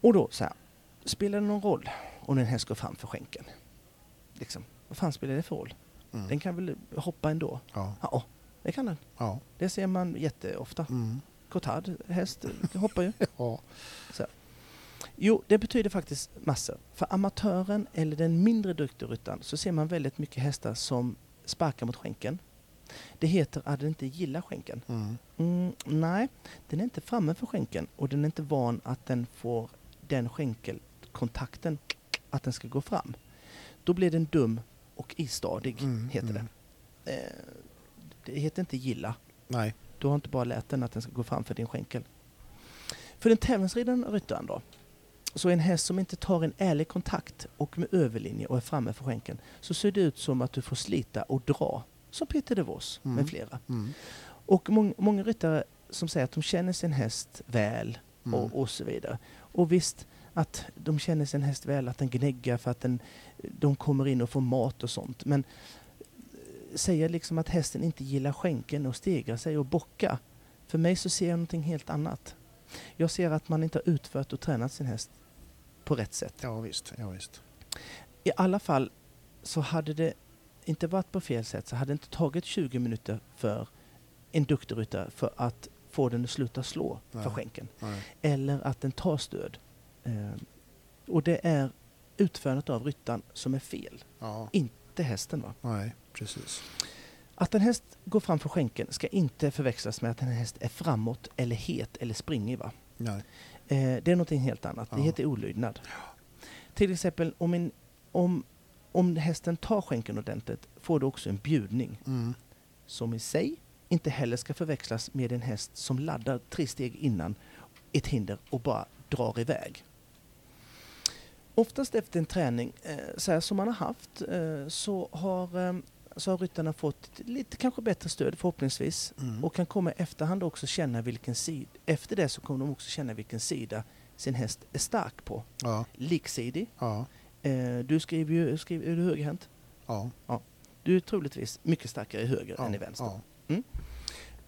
Och då så här, spelar det någon roll om en häst går fram för skänken? Liksom, vad fan spelar det för roll?
Mm.
Den kan väl hoppa ändå?
Ja,
Ja, det kan den.
ja.
Det ser man jätteofta.
Mm.
Cotard, häst, hoppar ju.
ja.
Jo, det betyder faktiskt massor. För amatören eller den mindre duktiga ryttaren så ser man väldigt mycket hästar som sparkar mot skänken. Det heter att den inte gillar skänken.
Mm.
Mm, nej, den är inte framme för skänken och den är inte van att den får den skänkelkontakten, att den ska gå fram. Då blir den dum och istadig,
Mm,
heter
mm.
det. Eh, det heter inte gilla.
Nej.
Du har inte bara lärt den att den ska gå fram för din skänkel. För den tävlingsridande ryttaren då, så är en häst som inte tar en ärlig kontakt och med överlinje och är framme för skänkeln, så ser det ut som att du får slita och dra, som Peter DeVos med
Mm.
flera.
Mm.
Och mång, många ryttare som säger att de känner sin häst väl
Mm.
och, och så vidare. Och visst, att de känner sin häst väl, att den gnäggar för att den, de kommer in och får mat och sånt. Men eh, säga liksom att hästen inte gillar skänken och stegra sig och bocka. För mig så ser jag någonting helt annat. Jag ser att man inte har utfört och tränat sin häst på rätt sätt.
Ja, visst, ja, visst.
I alla fall så hade det inte varit på fel sätt så hade det inte tagit 20 minuter för en duktig ryttare för att få den att sluta slå för
Nej.
skänken.
Nej.
Eller att den tar stöd. Eh, och det är utförandet av ryttaren som är fel,
Ja.
inte hästen. Va?
Nej, precis.
Att en häst går framför skänken ska inte förväxlas med att en häst är framåt eller het eller springig. Va?
Nej.
Eh, det är någonting helt annat. Det
Ja.
heter olydnad. Till exempel om, en, om, om hästen tar skänken ordentligt får du också en bjudning
Mm.
som i sig inte heller ska förväxlas med en häst som laddar tre steg innan ett hinder och bara drar iväg. Oftast efter en träning eh, så här som man har haft eh, så har, eh, så har ryttarna fått lite kanske bättre stöd förhoppningsvis
Mm.
och kan komma i efterhand också känna vilken sida, efter det så kommer de också känna vilken sida sin häst är stark på.
Ja,
Liksidig,
ja,
eh, du skriver ju, skriver, är du högerhänt?
ja.
Du är troligtvis mycket starkare i höger
ja,
än i vänster.
Ja.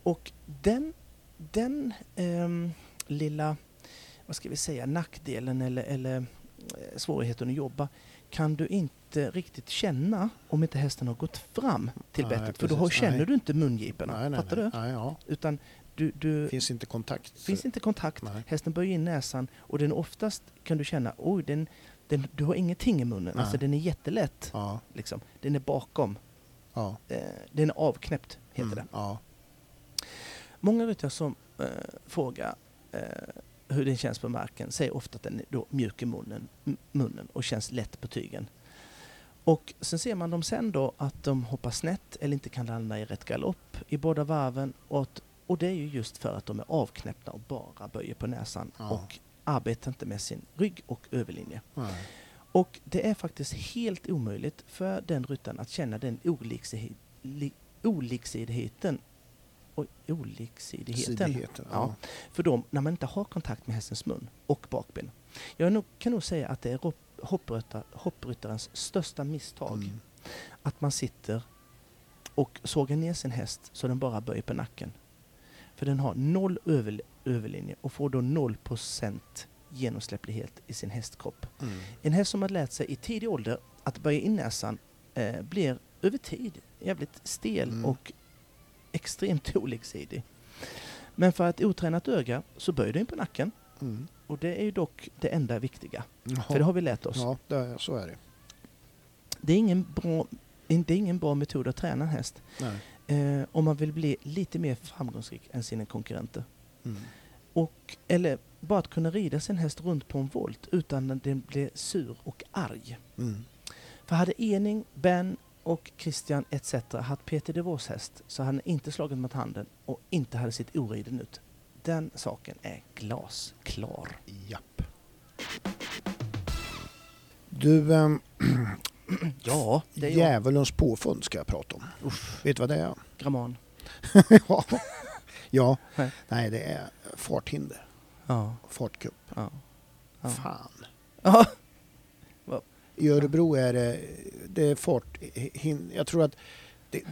Och den, den ehm, lilla, vad ska vi säga, nackdelen eller, eller eh, svårigheten att jobba kan du inte riktigt känna om inte hästen har gått fram till
Nej,
bettet. För då har-
precis.
känner
Nej.
du inte mungiporna,
Nej, nej,
fattar
nej.
du?
Nej, ja.
Utan du, du,
Finns inte kontakt.
finns inte kontakt.
Nej.
Hästen böjer in näsan och den oftast kan du känna, oj, den, den, du har ingenting i munnen.
Nej.
Alltså den är jättelätt.
Ja,
Liksom. Den är bakom.
ja.
Eh, den är avknäppt, heter
Mm,
det.
Ja,
Många ryttare som eh, frågar eh, hur den känns på marken säger ofta att den är då mjuk i munnen, m- munnen och känns lätt på tygen. Och sen ser man dem sen då att de hoppar snett eller inte kan landa i rätt galopp i båda varven. Och, att, och det är ju just för att de är avknäppta och bara böjer på näsan
Ja.
och arbetar inte med sin rygg och överlinje.
nej.
Och det är faktiskt helt omöjligt för den ryttaren att känna den oliksidi- li- oliksidigheten Oj, oliksidigheten
Sidigheten,
Ja. för dem när man inte har kontakt med hästens mun och bakben. Jag nog, kan nog säga att det är rop- hoppryttar, hoppryttarens största misstag
Mm.
att man sitter och sågar ner sin häst så den bara böjer på nacken. För den har noll över, överlinje och får då 0% genomsläpplighet i sin hästkropp.
Mm.
En häst som har lärt sig i tidig ålder att böja in näsan eh, blir över tid jävligt stel
Mm.
och extremt oliksidig. Men för ett otränat öga så böjer den på nacken
Mm.
och det är ju dock det enda viktiga.
Ja.
För det har vi lärt oss.
Ja, det, så är det.
Det, är ingen bra, det är ingen bra metod att träna en häst
Nej.
eh, om man vill bli lite mer framgångsrik än sina konkurrenter.
Mm.
Och, eller bara att kunna rida sin häst runt på en volt utan att den blir sur och arg.
Mm.
För hade Ening, Ben och Christian etc. haft Peter DeVos häst så hade han inte slagit mot handen och inte hade sett oriden ut. Den saken är glasklar.
Japp. Du, ehm,
Ja, det är jag.
djävulens påfund ska jag prata om.
Uff,
Vet du vad det är?
Graman.
ja. ja.
Nej.
Nej, det är farthinder.
Ja.
Fartkupp.
ja. Ja.
Fan.
ja.
I Örebro är det, det är fart. hin- Jag tror att det,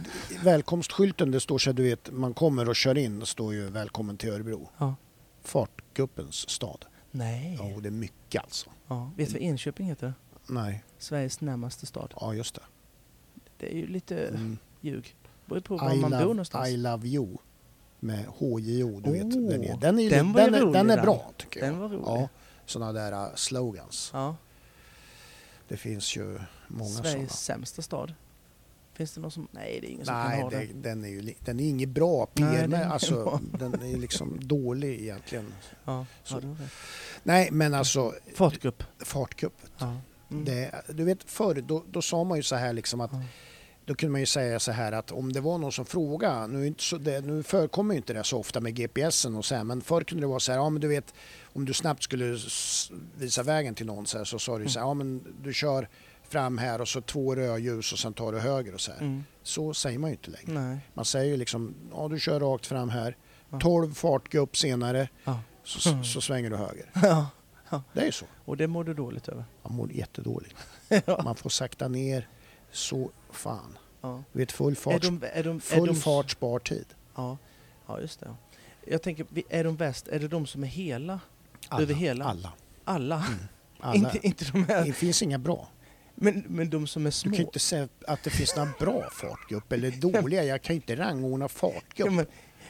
välkomstskylten, det står så här, du vet, man kommer och kör in, står ju välkommen till Örebro.
ja.
Fartkuppens stad.
Nej.
Ja, och det är mycket alltså.
Ja. Vet du vad Enköping heter?
Nej,
Sveriges närmaste stad.
ja just det.
Det är ju lite
Mm.
ljug. Beror ju på var
I,
man bor
love,
någonstans.
I love you med HJO, du vet.
Oh,
Den är, den
den
är, den
var ju
den är,
rolig
den är
den.
bra tycker jag.
Den var rolig.
Ja, sådana där äh, slogans.
Ja.
Det finns ju många sådana.
Sveriges sämsta stad. Finns det någon som... Nej, det är ingen som kan
Nej,
ha
det,
det.
den är ju li- den är inget bra PR.
Nej,
Nej,
den är inte
alltså,
bra.
den är liksom dålig egentligen.
Ja.
Så.
Ja, det var det.
Nej, men alltså
Fartgrupp.
fartkuppet.
Ja. Mm.
Det, du vet förr, då, då sa man ju så här liksom att
Ja.
då kunde man ju säga så här att om det var någon som frågade, nu, är inte så, det, nu förekommer ju inte det så ofta med GPSen och så här, men förr kunde det vara så här, ja men du vet om du snabbt skulle s- visa vägen till någon så här så sa du så här, ja men du kör fram här och så två rödljus och sen tar du höger och så här.
Mm.
Så säger man ju inte längre.
Nej.
Man säger ju liksom, ja du kör rakt fram här,
Ja. Mm.
12 fartgupp senare
Ja.
så, så svänger du höger.
Ja.
Det är ju så.
Och det mår du dåligt över.
Man mår jättedåligt.
ja.
Man får sakta ner så fan.
Ja.
Du vet full fart,
Är de, är de, är
full
de,
fart spar tid.
Ja. ja, just det. Jag tänker, vi- är de bäst, är det de som är hela?
Alla,
Över hela?
Alla. Mm.
Alla?
alla.
inte, inte de
Det
här.
finns inga bra.
Men, men de som är
Du
små.
kan ju inte säga att det finns några bra fartgupp eller dåliga. Jag kan ju inte rangordna
Ja,
fartgupp.
men,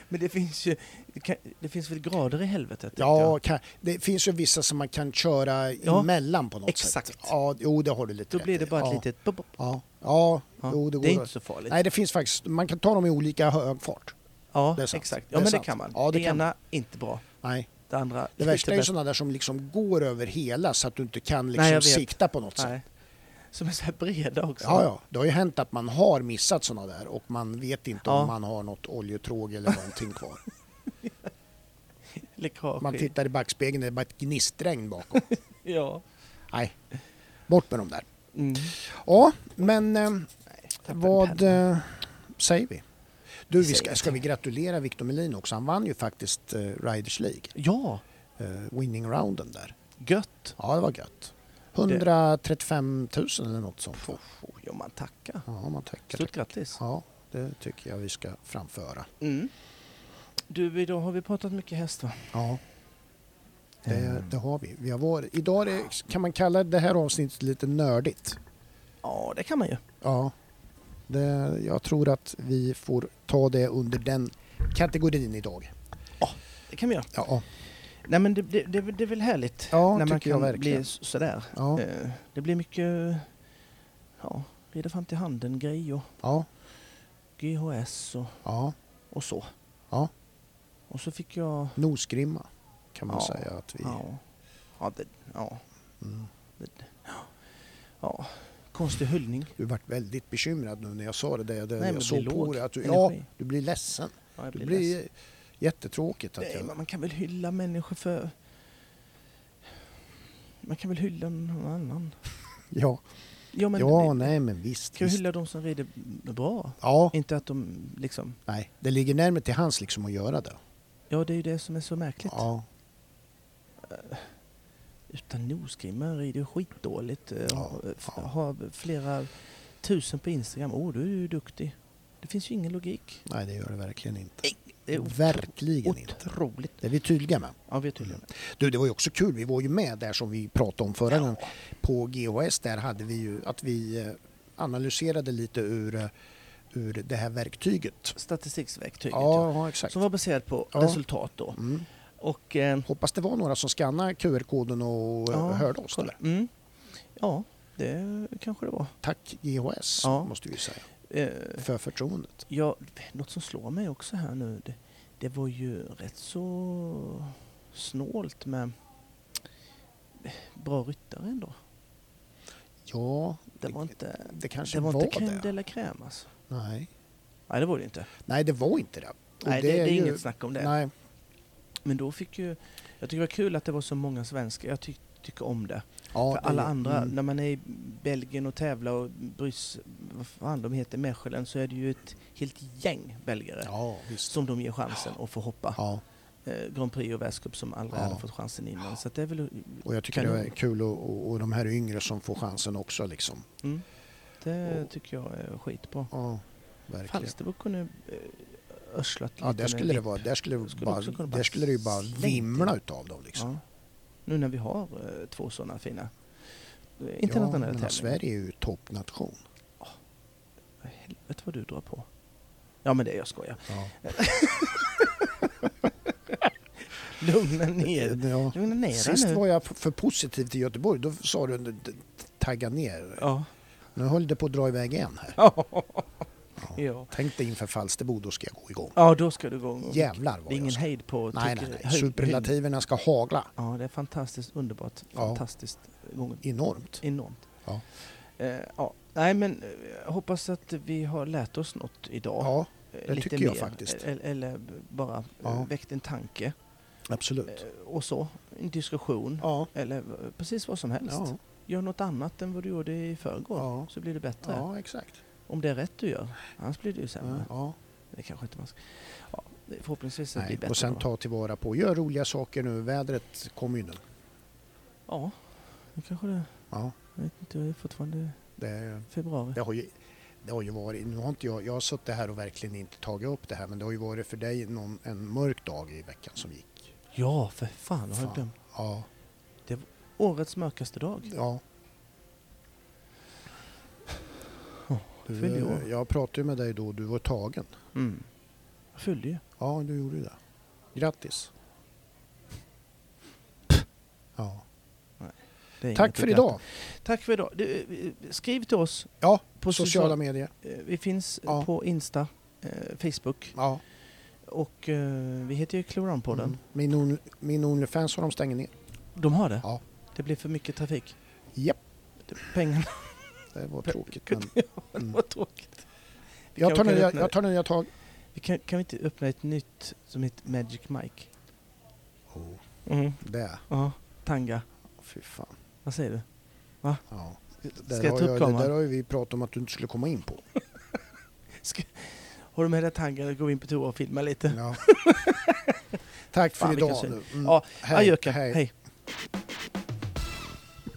men det finns ju, det kan- det finns väl grader i helvetet? tänkte
Ja,
jag.
kan, det finns ju vissa som man kan köra
Ja,
emellan på något sätt.
exakt.
Ja, jo det har du lite
Då
rätt
blir det
i.
bara ett
ja,
litet... bop, bop.
Ja, ja,
Ja.
jo det
det,
går.
är inte så farligt.
Nej, det finns faktiskt, man kan ta dem i olika hög fart.
ja,
det är sant.
exakt.
Det
Ja,
är
men
sant.
det kan man.
Ja, det
det
kan
ena, inte bra.
Nej,
Det andra,
det värsta är ju
bäst.
sådana där som liksom går över hela så att du inte kan liksom
Nej, jag vet.
sikta på något sätt.
Nej. Som är så här breda också.
Ja, ja, det har ju hänt att man har missat sådana där och man vet inte
Ja.
om man har något oljetråg eller någonting kvar.
Läckage.
Man tittar i backspegeln, det är bara ett gnistregn bakom.
Ja.
Nej, bort med dem där.
Mm.
Ja, men eh,
tappade
vad eh, säger vi? Du,
Vi
vi ska,
säger
ska vi gratulera Victor Melin också? Han vann ju faktiskt eh, Riders League,
Ja,
eh, winning rounden där.
gött.
Ja, det var gött. 135 000 eller något sånt. va?
Får Oh, ja, man tacka.
Ja, man tackar.
Stort grattis.
Ja, det tycker jag vi ska framföra.
Mm. Du, idag har vi pratat mycket häst va?
Ja, det,
Ehm.
det har vi. vi har varit, idag är det, kan man kalla det här avsnittet lite nördigt.
Ja, det kan man ju.
Ja, det, jag tror att vi får ta det under den kategorin idag.
Det kan man göra.
Ja,
Nej men det, det, det, är väl- det är väl härligt?
Ja,
när man
tycker jag
kan
verkligen.
bli s- sådär.
ja,
Eh, Det blir mycket, ja, rida fram till handen grej och
ja,
GHS och,
ja.
och så.
Ja.
Och så fick jag,
Nosgrimma kan man
Ja,
säga att vi...
ja, ja, det, ja,
Mm.
ja, konstig hyllning.
Du vart väldigt bekymrad nu när jag sa det. Där. Det,
men
jag
det
såg
blir
på
låg
dig att du, ja,
energi.
du blir ledsen.
Ja, jag
Det
blir
blir
ledsen.
jättetråkigt att
Nej,
jag...
men man kan väl hylla människor för... Man kan väl hylla någon annan?
Ja,
Ja, men
ja
vi-
nej men visst.
Ska vi
visst.
hylla de som rider bra?
Ja,
Inte att de liksom...
nej. Det ligger närmare till hans liksom att göra det.
Ja, det är ju det som är så märkligt.
Ja,
Utan nosgrimmar rider ju skitdåligt. eh,
Ja,
ha- f-
ja.
Har flera tusen på Instagram. Åh, du är ju duktig. Det finns ju ingen logik.
nej det gör det verkligen inte.
Det är
verkligen inte. Mm.
otroligt.
Det är vi tydliga med.
Ja, vi är tydliga med.
Du, det var ju också kul. Vi var ju med där som vi pratade om förra gången. På GHS där hade vi ju att vi eh, analyserade lite ur, eh, ur det här verktyget.
Statistiksverktyget, ja.
Ja, ja, exakt.
Som var baserat på
Ja.
resultat då.
Mm.
Och... Eh,
Hoppas det var några som skannade QR-koden och eh,
Ja,
hörde oss.
kolla.
Där.
Mm. Ja, det kanske det var.
Tack GHS
Ja.
måste vi säga
Eh,
för förtroendet.
ja, något som slår mig också här nu, det, det var ju rätt så snålt med bra ryttare ändå.
Ja,
Det var inte,
det kanske
det var inte crème de
det.
la crème alltså.
Nej.
Nej, det var det inte.
Nej, det var inte det. Och
Nej, det, det är
ju-
inget snack om det.
Nej,
Men då fick ju... Jag tycker det var kul att det var så många svenskar. Jag tyck, tycker om det.
ja,
För
det-
alla andra,
mm,
när man är i Belgien och tävlar och Brys, vad fan de heter, Mechelen, så är det ju ett helt gäng belgare.
Ja, visst.
som de ger chansen att få hoppa
Ja,
eh, Grand Prix och världscup som aldrig
Ja.
hade fått chansen innan. Så att det är väl...
och jag tycker
Kanon.
det är kul och, och, och de här yngre som får chansen också liksom.
Mm, det
Och-
tycker jag är skitbra.
Ja, verkligen.
Falsterbo kunde eh, örslat lite
Ja, där
med
skulle det
dipp.
vara, där skulle, det
Skulle
bara,
också kunna
där
bara
skulle det ju bara
slängt
vimla utav dem liksom.
Ja. Nu när vi har eh, två sådana fina eh,
ja,
internationella
men
tävlingar.
Sverige är ju toppnation.
Helvete vad du drar på. Ja men det, jag skojar.
Ja.
Lugna ner
Ja.
Lugna ner
Sist
dig nu.
var jag för positiv till Göteborg. Då sa du d- d- tagga ner.
Ja.
Nu höll det på att dra iväg igen här. Ja.
ja.
Tänk dig inför Falsterbo, då ska jag gå igång.
Ja, då ska du gå igång.
Jävlar vad
Det är ingen
jag ska.
hejd på
Nej, nej,
tycker-
nej.
höjd-
Superlativerna ska hagla
Ja, det är fantastiskt underbart.
Ja.
Fantastiskt eh, gången.
enormt.
Enormt.
Ja.
Eh, ja. Nej, men eh, jag hoppas att vi har lärt oss något idag.
Ja,
Eh,
det tycker jag faktiskt.
Eller, eller b- bara eh,
Ja.
väckt en tanke
absolut.
eh, och så. En diskussion.
Ja,
Eller eh, precis vad som helst.
ja,
Gör något annat än vad du gjorde i förrgår
Ja.
så blir det bättre.
ja exakt.
Om det är rätt du gör. Annars blir det ju sämre.
Ja,
Det kanske inte man ska. Ja. Förhoppningsvis att det
Nej.
blir bättre.
Och sen
då.
ta tillvara på, gör roliga saker nu, vädret kommer ju nu.
Ja, nu kanske det...
Ja,
Jag vet inte, det är fortfarande
det,
februari.
det, har ju, det har ju varit, nu har inte jag, jag har suttit här och verkligen inte tagit upp det här men det har ju varit för dig någon, en mörk dag i veckan som gick.
Ja, för fan, har jag
Fan.
glömt.
Ja,
Årets mörkaste dag.
ja.
Ja, fyllde
Du,
jag.
jag pratade ju med dig då, du var tagen.
Mm. Jag fyllde ju.
Ja, du gjorde det. Grattis. Ja.
Det är
Tack
inget
för
att
idag.
gratta. Tack för idag. Du, eh, skriv till oss.
Ja,
På
på
sociala-
sociala medier.
Eh, Vi finns eh,
Ja.
på Insta, eh, Facebook
Ja.
och eh, vi heter ju Kloranpodden.
Mm. Min, on, min Onlyfans har de stängt ner.
De har det?
Ja.
Det blir för mycket trafik.
Japp,
Pengarna
det var
Per-
tråkigt. Men Mm.
var tråkigt. Vi
jag, tar
kanske
nya,
öppnar-
jag tar nya tag.
Vi kan, kan vi inte öppna ett nytt som heter Magic Mike?
Oh,
Mm.
det.
Ja, tanga.
Fy fan.
Vad säger du?
Ja.
Ska
Där
jag
har
ta upp
jag, det där
kameran?
har ju vi pratat om att du inte skulle komma in på.
Ska, har du med dig tangan och går vi in på toa och filmar lite?
Ja. Tack för
Fan, vilken
idag.
syn.
nu. Mm.
Ja,
Hej,
Adjöken,
hej.
hej.